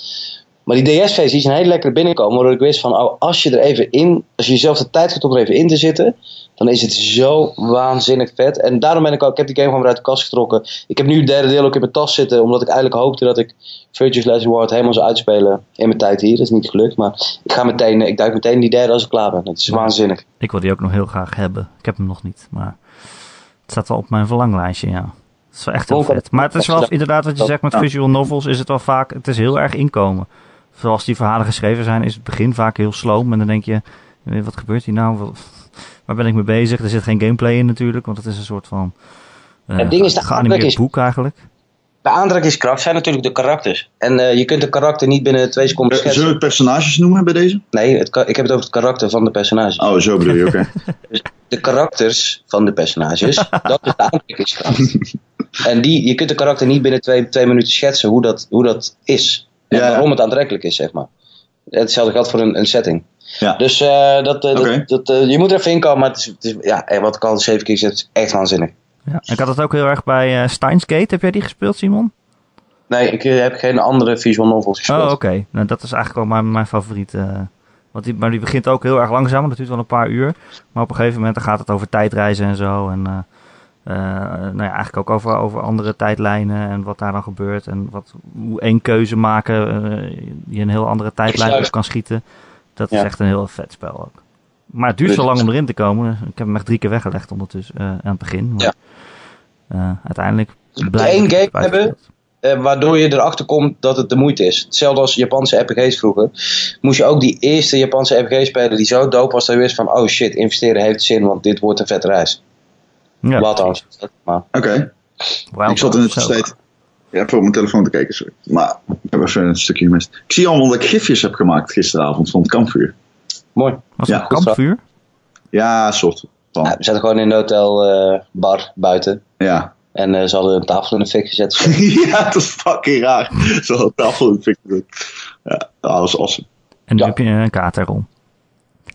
Maar die DS-feest is een hele lekkere binnenkomen, waardoor ik wist van, oh, als je er even in, als je jezelf de tijd gaat om er even in te zitten, dan is het zo waanzinnig vet. En daarom ben ik ook, ik heb die game gewoon weer uit de kast getrokken. Ik heb nu het derde deel ook in mijn tas zitten, omdat ik eigenlijk hoopte dat ik Virtuous Last Reward helemaal zou uitspelen in mijn tijd hier. Dat is niet gelukt, maar ik ga meteen, eh, ik duik meteen in die derde als ik klaar ben. Dat is waanzinnig. Ik wil die ook nog heel graag hebben. Ik heb hem nog niet, maar het staat wel op mijn verlanglijstje, ja. Het is wel echt heel Donker. vet. Maar het is wel inderdaad wat je zegt met visual novels, is het wel vaak, het is heel erg inkomen. Zoals die verhalen geschreven zijn, is het begin vaak heel sloom. En dan denk je, eh, wat gebeurt hier nou? Wat- Waar ben ik mee bezig? Er zit geen gameplay in natuurlijk, want het is een soort van eh, Het ding is, de geanimeerd aanpak is- boek eigenlijk. De aantrekkingskracht zijn natuurlijk de karakters. En eh, je kunt de karakter niet binnen twee seconden Eh, Zullen schetsen. we personages noemen bij deze? Nee, het, ka- ik heb het over het karakter van de personages. Oh, zo bedoel je, oké. de karakters van de personages, dat is de aantrekkingskracht. en die, je kunt de karakter niet binnen twee, twee minuten schetsen hoe dat, hoe dat is. En Ja. waarom het aantrekkelijk is, zeg maar. Hetzelfde geldt voor een, een setting. Ja. Dus eh, dat, eh, Oké. dat, dat, eh, je moet er even in komen, maar het is, het is- ja, eh, wat ik al zeven keer zeg, het is echt waanzinnig. Ja. Ik had het ook heel erg bij eh, Steins Gate. Heb jij die gespeeld, Simon? Nee, ik eh, heb geen andere visual novels gespeeld. Oh, oké. Nou, dat is eigenlijk wel mijn, mijn favoriet. eh, want die, maar die begint ook heel erg langzaam. want Dat duurt wel een paar uur. Maar op een gegeven moment dan gaat het over tijdreizen en zo. En eh, eh, nou ja, eigenlijk ook over, over andere tijdlijnen en wat daar dan gebeurt. En wat, hoe één keuze maken eh, die een heel andere tijdlijn op kan schieten. Dat is Ja. echt een heel vet spel ook. Maar het duurt zo lang om erin te komen. Ik heb hem echt drie keer weggelegd ondertussen eh, aan het begin. Maar, Ja. eh, uiteindelijk moet blijf één ik game het buiten hebben. gespeeld. Eh, waardoor je erachter komt dat het de moeite is. Hetzelfde als Japanse RPG's vroeger. Moest je ook die eerste Japanse RPG spelen die zo dope was dat je wist van... Oh shit, investeren heeft zin, want dit wordt een vette reis. Ja. Wat dan? Maar Oké, Wild ik zat in het Hearts ook. tijd even op mijn telefoon te kijken, sorry. Maar ik heb even een stukje gemist. Ik zie allemaal dat ik gifjes heb gemaakt gisteravond van het kampvuur. Mooi. Was het Ja, een goed zo. kampvuur? Ja, soort van. Ja, we zaten gewoon in een hotelbar buiten. Ja. En eh, ze hadden een tafel in de fik gezet. Zo. ja, dat is fucking raar. Zo'n tafel in het Ja, dat was awesome. En nu Ja. heb je een kaart erom.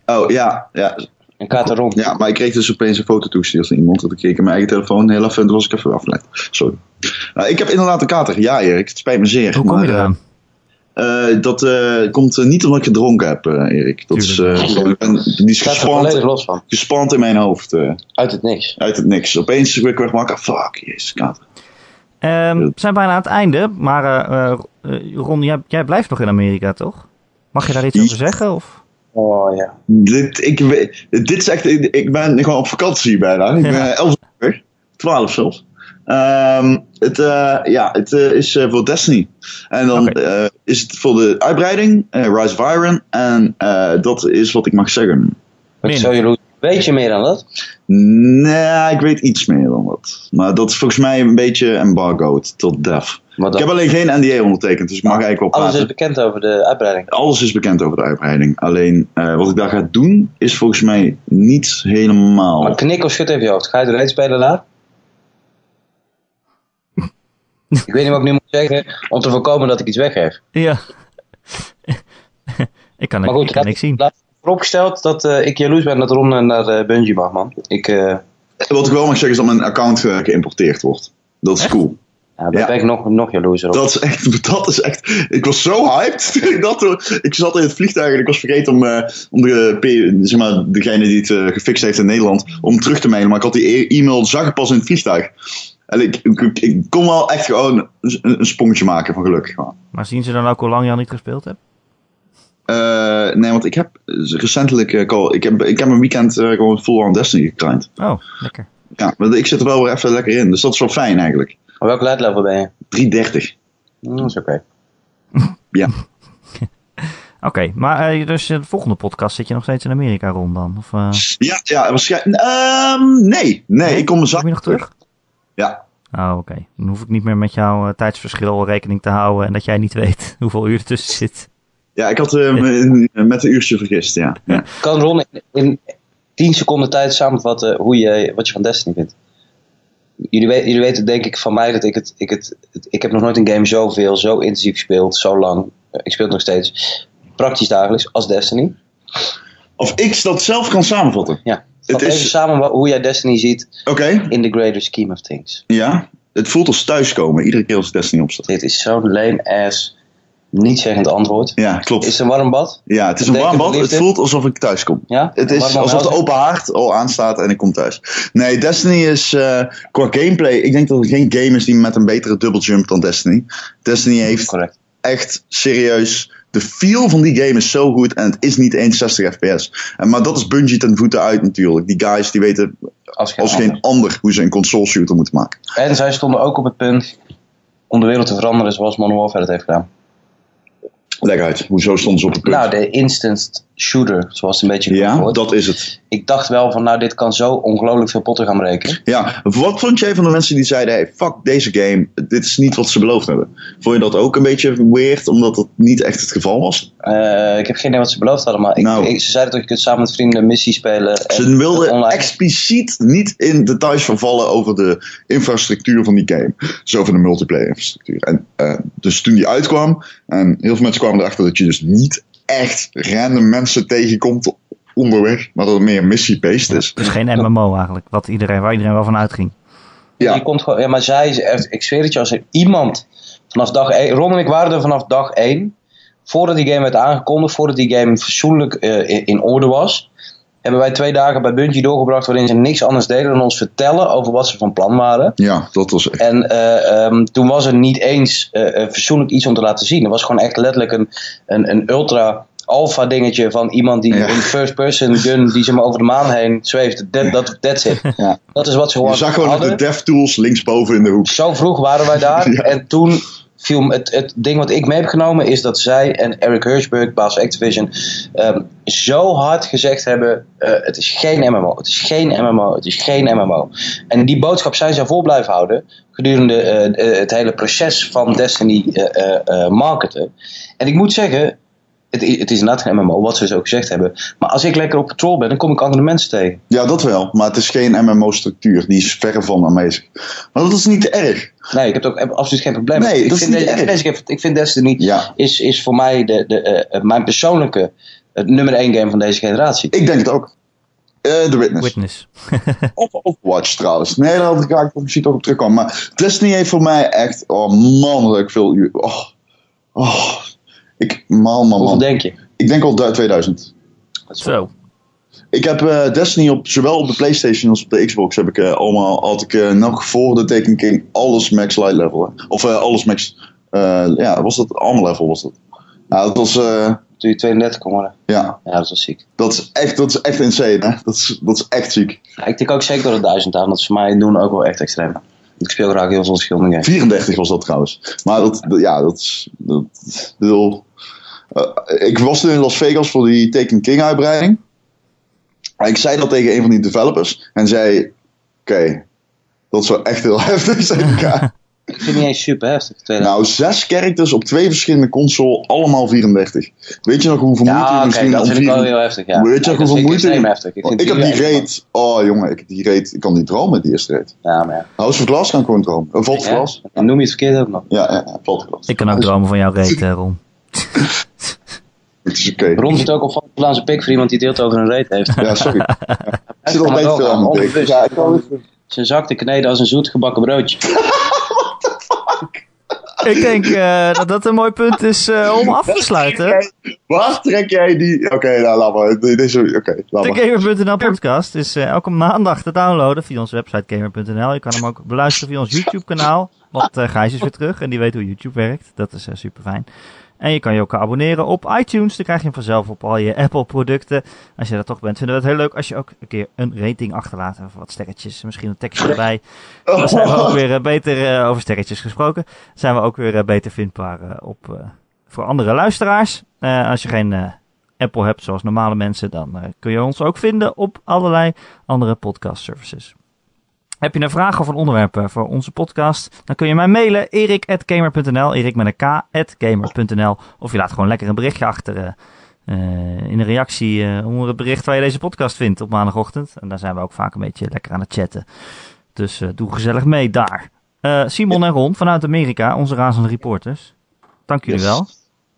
Oh ja, ja, Een kaart er rond. ja, maar ik kreeg dus opeens een foto toegestuurd van iemand. Want ik keek in mijn eigen telefoon heel even en toen was ik even afgeleid. Sorry. Nou, ik heb inderdaad een kater. Ja, Erik, het spijt me zeer. Hoe kom maar, je eraan? eh, eh, dat eh, komt eh, niet omdat ik gedronken heb, eh, Erik. Dat is, Tuurlijk. eh, gewoon- ik ben, die is Ik sta er gespant, volledig los van. gespant in mijn hoofd. eh, Uit het niks. uit het niks. Opeens werd ik weer wakker. Fuck, jezus, kater. Ehm, we zijn bijna aan het einde, maar eh, eh, eh, Ron, jij, jij blijft nog in Amerika, toch? Mag je daar iets Ja. over zeggen? Of? Oh ja. Dit, ik, weet- dit is echt, ik, ik ben gewoon op vakantie bijna. Ik ben Ja. 11 uur, 12 zelfs. Ehm, het, eh, ja, het eh, is eh, voor Destiny. En dan Oké. eh, is het voor de uitbreiding, eh, Rise of Iron. En eh, dat is wat ik mag zeggen. Ik ben Min. zo jaloers. Weet je meer dan dat? Nee, ik weet iets meer dan dat. Maar dat is volgens mij een beetje embargoed tot def. Maar Ik dan- heb alleen geen NDA ondertekend, dus ik mag eigenlijk wel alles praten. is bekend over de uitbreiding. alles is bekend over de uitbreiding. Alleen eh, wat ik daar ga doen, is volgens mij niet helemaal. Maar knik of schud even je hoofd. Ga je eruit spelen daar? ik weet niet wat ik nu moet zeggen om te voorkomen dat ik iets weggeef. Ja. ik kan, Maar goed, ik kan laat- niks zien. laat vooropgesteld dat eh, ik jaloers ben dat Ron eh, naar eh, Bungie mag, man. Ik, eh, Wat ik wel mag zeggen is dat mijn account eh, geïmporteerd wordt. Dat is cool. ja, daar Ja. ben ik nog, nog jaloerser op. Dat is, echt, dat is echt. Ik was zo hyped. toen ik dat, hoor. ik zat in het vliegtuig en ik was vergeten om, eh, om de, P- zeg maar, degene die het eh, gefixt heeft in Nederland. om terug te mailen. Maar ik had die e- e-mail zag ik pas in het vliegtuig. En ik, ik, ik kon wel echt gewoon een, een sprongetje maken van geluk. gewoon. Maar zien ze dan ook hoe lang je al niet gespeeld hebt? Eh, nee, want ik heb recentelijk. eh, call- ik, heb, ik heb een weekend eh, gewoon full on Destiny gekrind. Oh, lekker. Ja, maar ik zit er wel weer even lekker in. Dus dat is wel fijn eigenlijk. Maar welk leidlevel ben je? 330. Hm, Dat is oké. Oké, maar eh, dus eh, de volgende podcast zit je nog steeds in Amerika rond dan? Of, eh, Ja, ja waarschijnlijk. ehm, nee, nee, ik kom mijn zak. Kom je nog terug? Ja. Oh, oké. Dan hoef ik niet meer met jouw eh, tijdsverschil rekening te houden en dat jij niet weet hoeveel uur ertussen zit. Ja, ik had eh, me- met een uurtje vergist. Ja. ja. Kan Ron in, in 10 seconden tijd samenvatten hoe je, wat je van Destiny vindt? Jullie, we- jullie weten denk ik van mij dat ik het, ik het, het- Ik heb nog nooit een game zoveel, zo intensief gespeeld, zo lang. Eh, Ik speel het nog steeds praktisch dagelijks als Destiny. Of ik dat zelf kan samenvatten. Ja. Het Vat is- even samen wa- hoe jij Destiny ziet Oké, in the greater scheme of things. ja. Het voelt als thuiskomen iedere keer als ik Destiny opstaat. Dit is zo'n lame ass, niet-zeggend antwoord. Ja, klopt. Is het een warm bad? ja, het is een warm betekent bad. Het liefde? voelt alsof ik thuis kom. Ja? Het Een is warm alsof de welzijn? open haard al aanstaat en ik kom thuis. Nee, Destiny is eh, qua gameplay. Ik denk dat er geen game is die met een betere double jump dan Destiny. Destiny heeft Correct. echt serieus. De feel van die game is zo goed en het is niet eens 60 fps. En, maar dat is Bungie ten voeten uit natuurlijk. Die guys die weten Als geen als ander. geen ander hoe ze een console shooter moeten maken. En zij stonden ook op het punt om de wereld te veranderen zoals Modern Warfare het heeft gedaan. Leg uit, hoezo stonden ze op het punt? Nou, de instant shooter, zoals het een beetje genoemd ja, wordt. dat is het. Ik dacht wel van, nou, dit kan zo ongelooflijk veel potten gaan breken. Ja, wat vond jij van de mensen die zeiden: hey, fuck deze game, dit is niet wat ze beloofd hebben? Vond je dat ook een beetje weird, omdat dat niet echt het geval was? Eh, ik heb geen idee wat ze beloofd hadden, maar ik, Nou. ik- ze zeiden toch, je kunt samen met vrienden een missie spelen. Ze en wilden online. expliciet niet in details vervallen over de infrastructuur van die game. Dus over de multiplayer-infrastructuur. En eh, dus toen die uitkwam, en heel veel mensen kwamen erachter dat je dus niet echt random mensen tegenkomt onderweg, maar dat het meer missie-based is. Dus geen MMO eigenlijk, wat iedereen, waar iedereen wel van uitging. Ja. Je komt gewoon, ja, maar zij is echt, ik zweer het je, als er iemand vanaf dag 1, Ron en ik waren er vanaf dag 1, voordat die game werd aangekondigd, voordat die game fatsoenlijk eh, in, in orde was, hebben wij twee dagen bij Bungie doorgebracht waarin ze niks anders deden dan ons vertellen over wat ze van plan waren. Ja, dat was echt. En eh, ehm, toen was er niet eens eh eh, fatsoenlijk iets om te laten zien. Er was gewoon echt letterlijk een, een, een ultra alpha dingetje van iemand die Ja. een first person gun die ze maar over de maan heen zweeft. Dat dat that's it. Ja. Dat is wat ze gewoon Je zag gewoon nog de hadden. DevTools linksboven in de hoek. Zo vroeg waren wij daar. Ja. En toen viel me- het, het ding wat ik mee heb genomen is dat zij en Eric Hirschberg, baas Activision, ehm, zo hard gezegd hebben: eh, het is geen MMO, het is geen MMO, het is geen MMO. En die boodschap zijn zij voor blijven houden gedurende eh, eh, het hele proces van Destiny eh, eh, eh, marketen. En ik moet zeggen, het, i- het is inderdaad geen MMO, wat ze dus ook gezegd hebben. Maar als ik lekker op patrol ben, dan kom ik andere mensen tegen. Ja, dat wel. Maar het is geen MMO-structuur. Die is verre van aanwezig. Maar dat is niet erg. Nee, ik heb er ook ab- absoluut geen probleem Nee, mee. ik, dat is vind niet de- erg. ik, vind, ik, vind, ik vind Destiny Ja, is, is voor mij de, de, eh, mijn persoonlijke het nummer één game van deze generatie. ik denk het ook. Eh The Witness. Witness. Of Overwatch trouwens. Nee, daar had ik eigenlijk misschien toch op terugkomen. Maar Destiny heeft voor mij echt... Oh man, dat ik veel uur... Oh, oh. Ik, man, Oh, man, Hoeveel man. denk je? Ik denk al du- 2000. Zo. Ik heb eh, Destiny op, zowel op de Playstation als op de Xbox heb ik eh, allemaal, had ik eh, nog voor de Taken King alles max light level. hè. Of eh, alles max, eh, ja, was dat arm level was dat. Nou, dat was, eh, Toen je 32 kon worden. ja, Ja, dat was ziek. dat is echt, dat is echt insane hè. Dat is, dat is echt ziek. Ja, ik tik ook zeker door de 1000 aan. Dat is voor mij doen ook wel echt extreem. Ik speel graag heel veel verschillende games. 34 was dat trouwens. Maar dat, dat- ja, dat is, dat, ik bedoel, eh, ik was toen in Las Vegas voor die Taken King uitbreiding. En ik zei dat tegen een van die developers. En zei, oké, dat zou echt heel heftig zijn. Ja. Ik vind het niet eens super heftig. tweede. Nou, zes characters op twee verschillende consoles, allemaal 34. Weet je nog hoeveel Ja, moeite je oké, misschien dat om vind ik vier- wel heel heftig. Ja. Weet je Ja, ook dat hoeveel vind moeite- extreem heftig. Ik, Oh, vind ik heb die die echt- raid. Oh jongen, ik heb die raid. Ik kan niet dromen, die eerste raid. Ja, maar ja. House of Glass kan ik gewoon dromen. Een Vault of Ja, Glass? dan noem je het verkeerd ook nog. Ja, ja, ja Vault of Glass. Ik kan ook dromen van jouw reet, eh, Ron. Het is oké. Ron zit ook op van Vlaamse pik voor iemand die deelt over een raid heeft. Ja, sorry. Ja. Ik zit al kan bij wel te veel gaan, aan mijn onbewust. bek. Ja, ik kan niet- Zijn zak te kneden als een zoet gebakken broodje. Ik denk eh, dat dat een mooi punt is eh, om af te sluiten. Waar trek jij die? Oké, nou laat maar. Dit is- Oké, laat De maar. Gamer.nl podcast is eh, elke maandag te downloaden via onze website Gamer.nl. Je kan hem ook beluisteren via ons YouTube kanaal. Want eh Gijs is weer terug en die weet hoe YouTube werkt. Dat is super fijn. En je kan je ook abonneren op iTunes. Dan krijg je hem vanzelf op al je Apple producten. Als je dat toch bent, vinden we het heel leuk als je ook een keer een rating achterlaat. Of wat sterretjes, misschien een tekstje erbij. Oh. Dan zijn we ook weer eh, beter eh, over sterretjes gesproken. Zijn we ook weer eh, beter vindbaar eh, op, eh, voor andere luisteraars. Eh, als je geen eh, Apple hebt zoals normale mensen, dan eh, kun je ons ook vinden op allerlei andere podcast services. Heb je een vraag of een onderwerp eh, voor onze podcast? Dan kun je mij mailen erik.gamer.nl, erik met een k, at gamer.nl. Of je laat gewoon lekker een berichtje achter eh, eh, in een reactie eh, onder het bericht waar je deze podcast vindt op maandagochtend. En daar zijn we ook vaak een beetje lekker aan het chatten. Dus eh, doe gezellig mee daar. Eh, Simon en Ron vanuit Amerika, onze razende reporters. Dank jullie Yes. wel.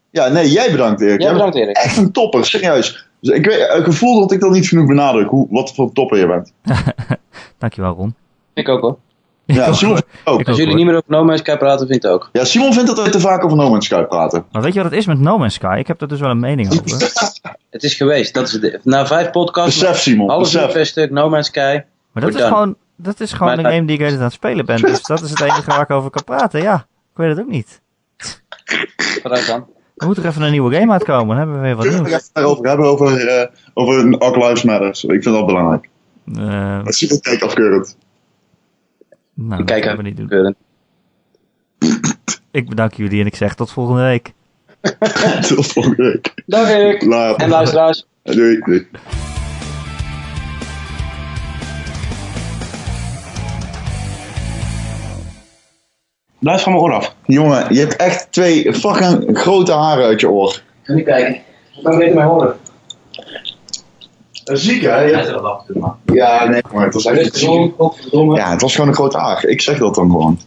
Ja, nee, jij bedankt Erik. Ja, Jij bedankt Erik. echt een topper, serieus. Dus ik weet, het gevoel dat ik dat niet genoeg benadruk, hoe, wat voor topper je bent. Dankjewel Ron. Ik ook hoor. Ja, ook, Simon hoor. vindt het ook. Ik Oh, Als ook, jullie hoor. niet meer over No Man's Sky praten, vind ik het ook. Ja, Simon vindt dat we te vaak over No Man's Sky praten. Maar weet je wat het is met No Man's Sky? Ik heb daar dus wel een mening over. Het is geweest. Dat is het. Na vijf podcasts, Besef, Simon, half uur besef. per stuk, No Man's Sky. Maar dat We're is done. gewoon, dat is gewoon Maar een dat- game die ik de hele tijd aan het spelen ben. Dus dat is het enige waar ik over kan praten. Ja, ik weet het ook niet. Vooruit dan. Er moet er even een nieuwe game uitkomen. Dan hebben we weer wat Kunnen we nieuws. het daarover hebben, over, eh over All Lives Matters. Ik vind dat belangrijk. Eh, Dat is super kijk afkeurend. nou, dat Kijk gaan we uit. niet doen. Ik bedank jullie en ik zeg tot volgende week. Tot volgende week. Dank Erik. En Later. luisteraars. Doei. doei. Blijf van mijn oor af. Jongen, je hebt echt twee fucking grote haren uit je oor. Ga nu kijken. Ik kan beter mij horen. Ziek hè? Hij is er al af. Ja, nee, maar het was echt Rustig, Ron. dus, Godverdomme. Ja, het was gewoon een grote haar. Ik zeg dat dan gewoon.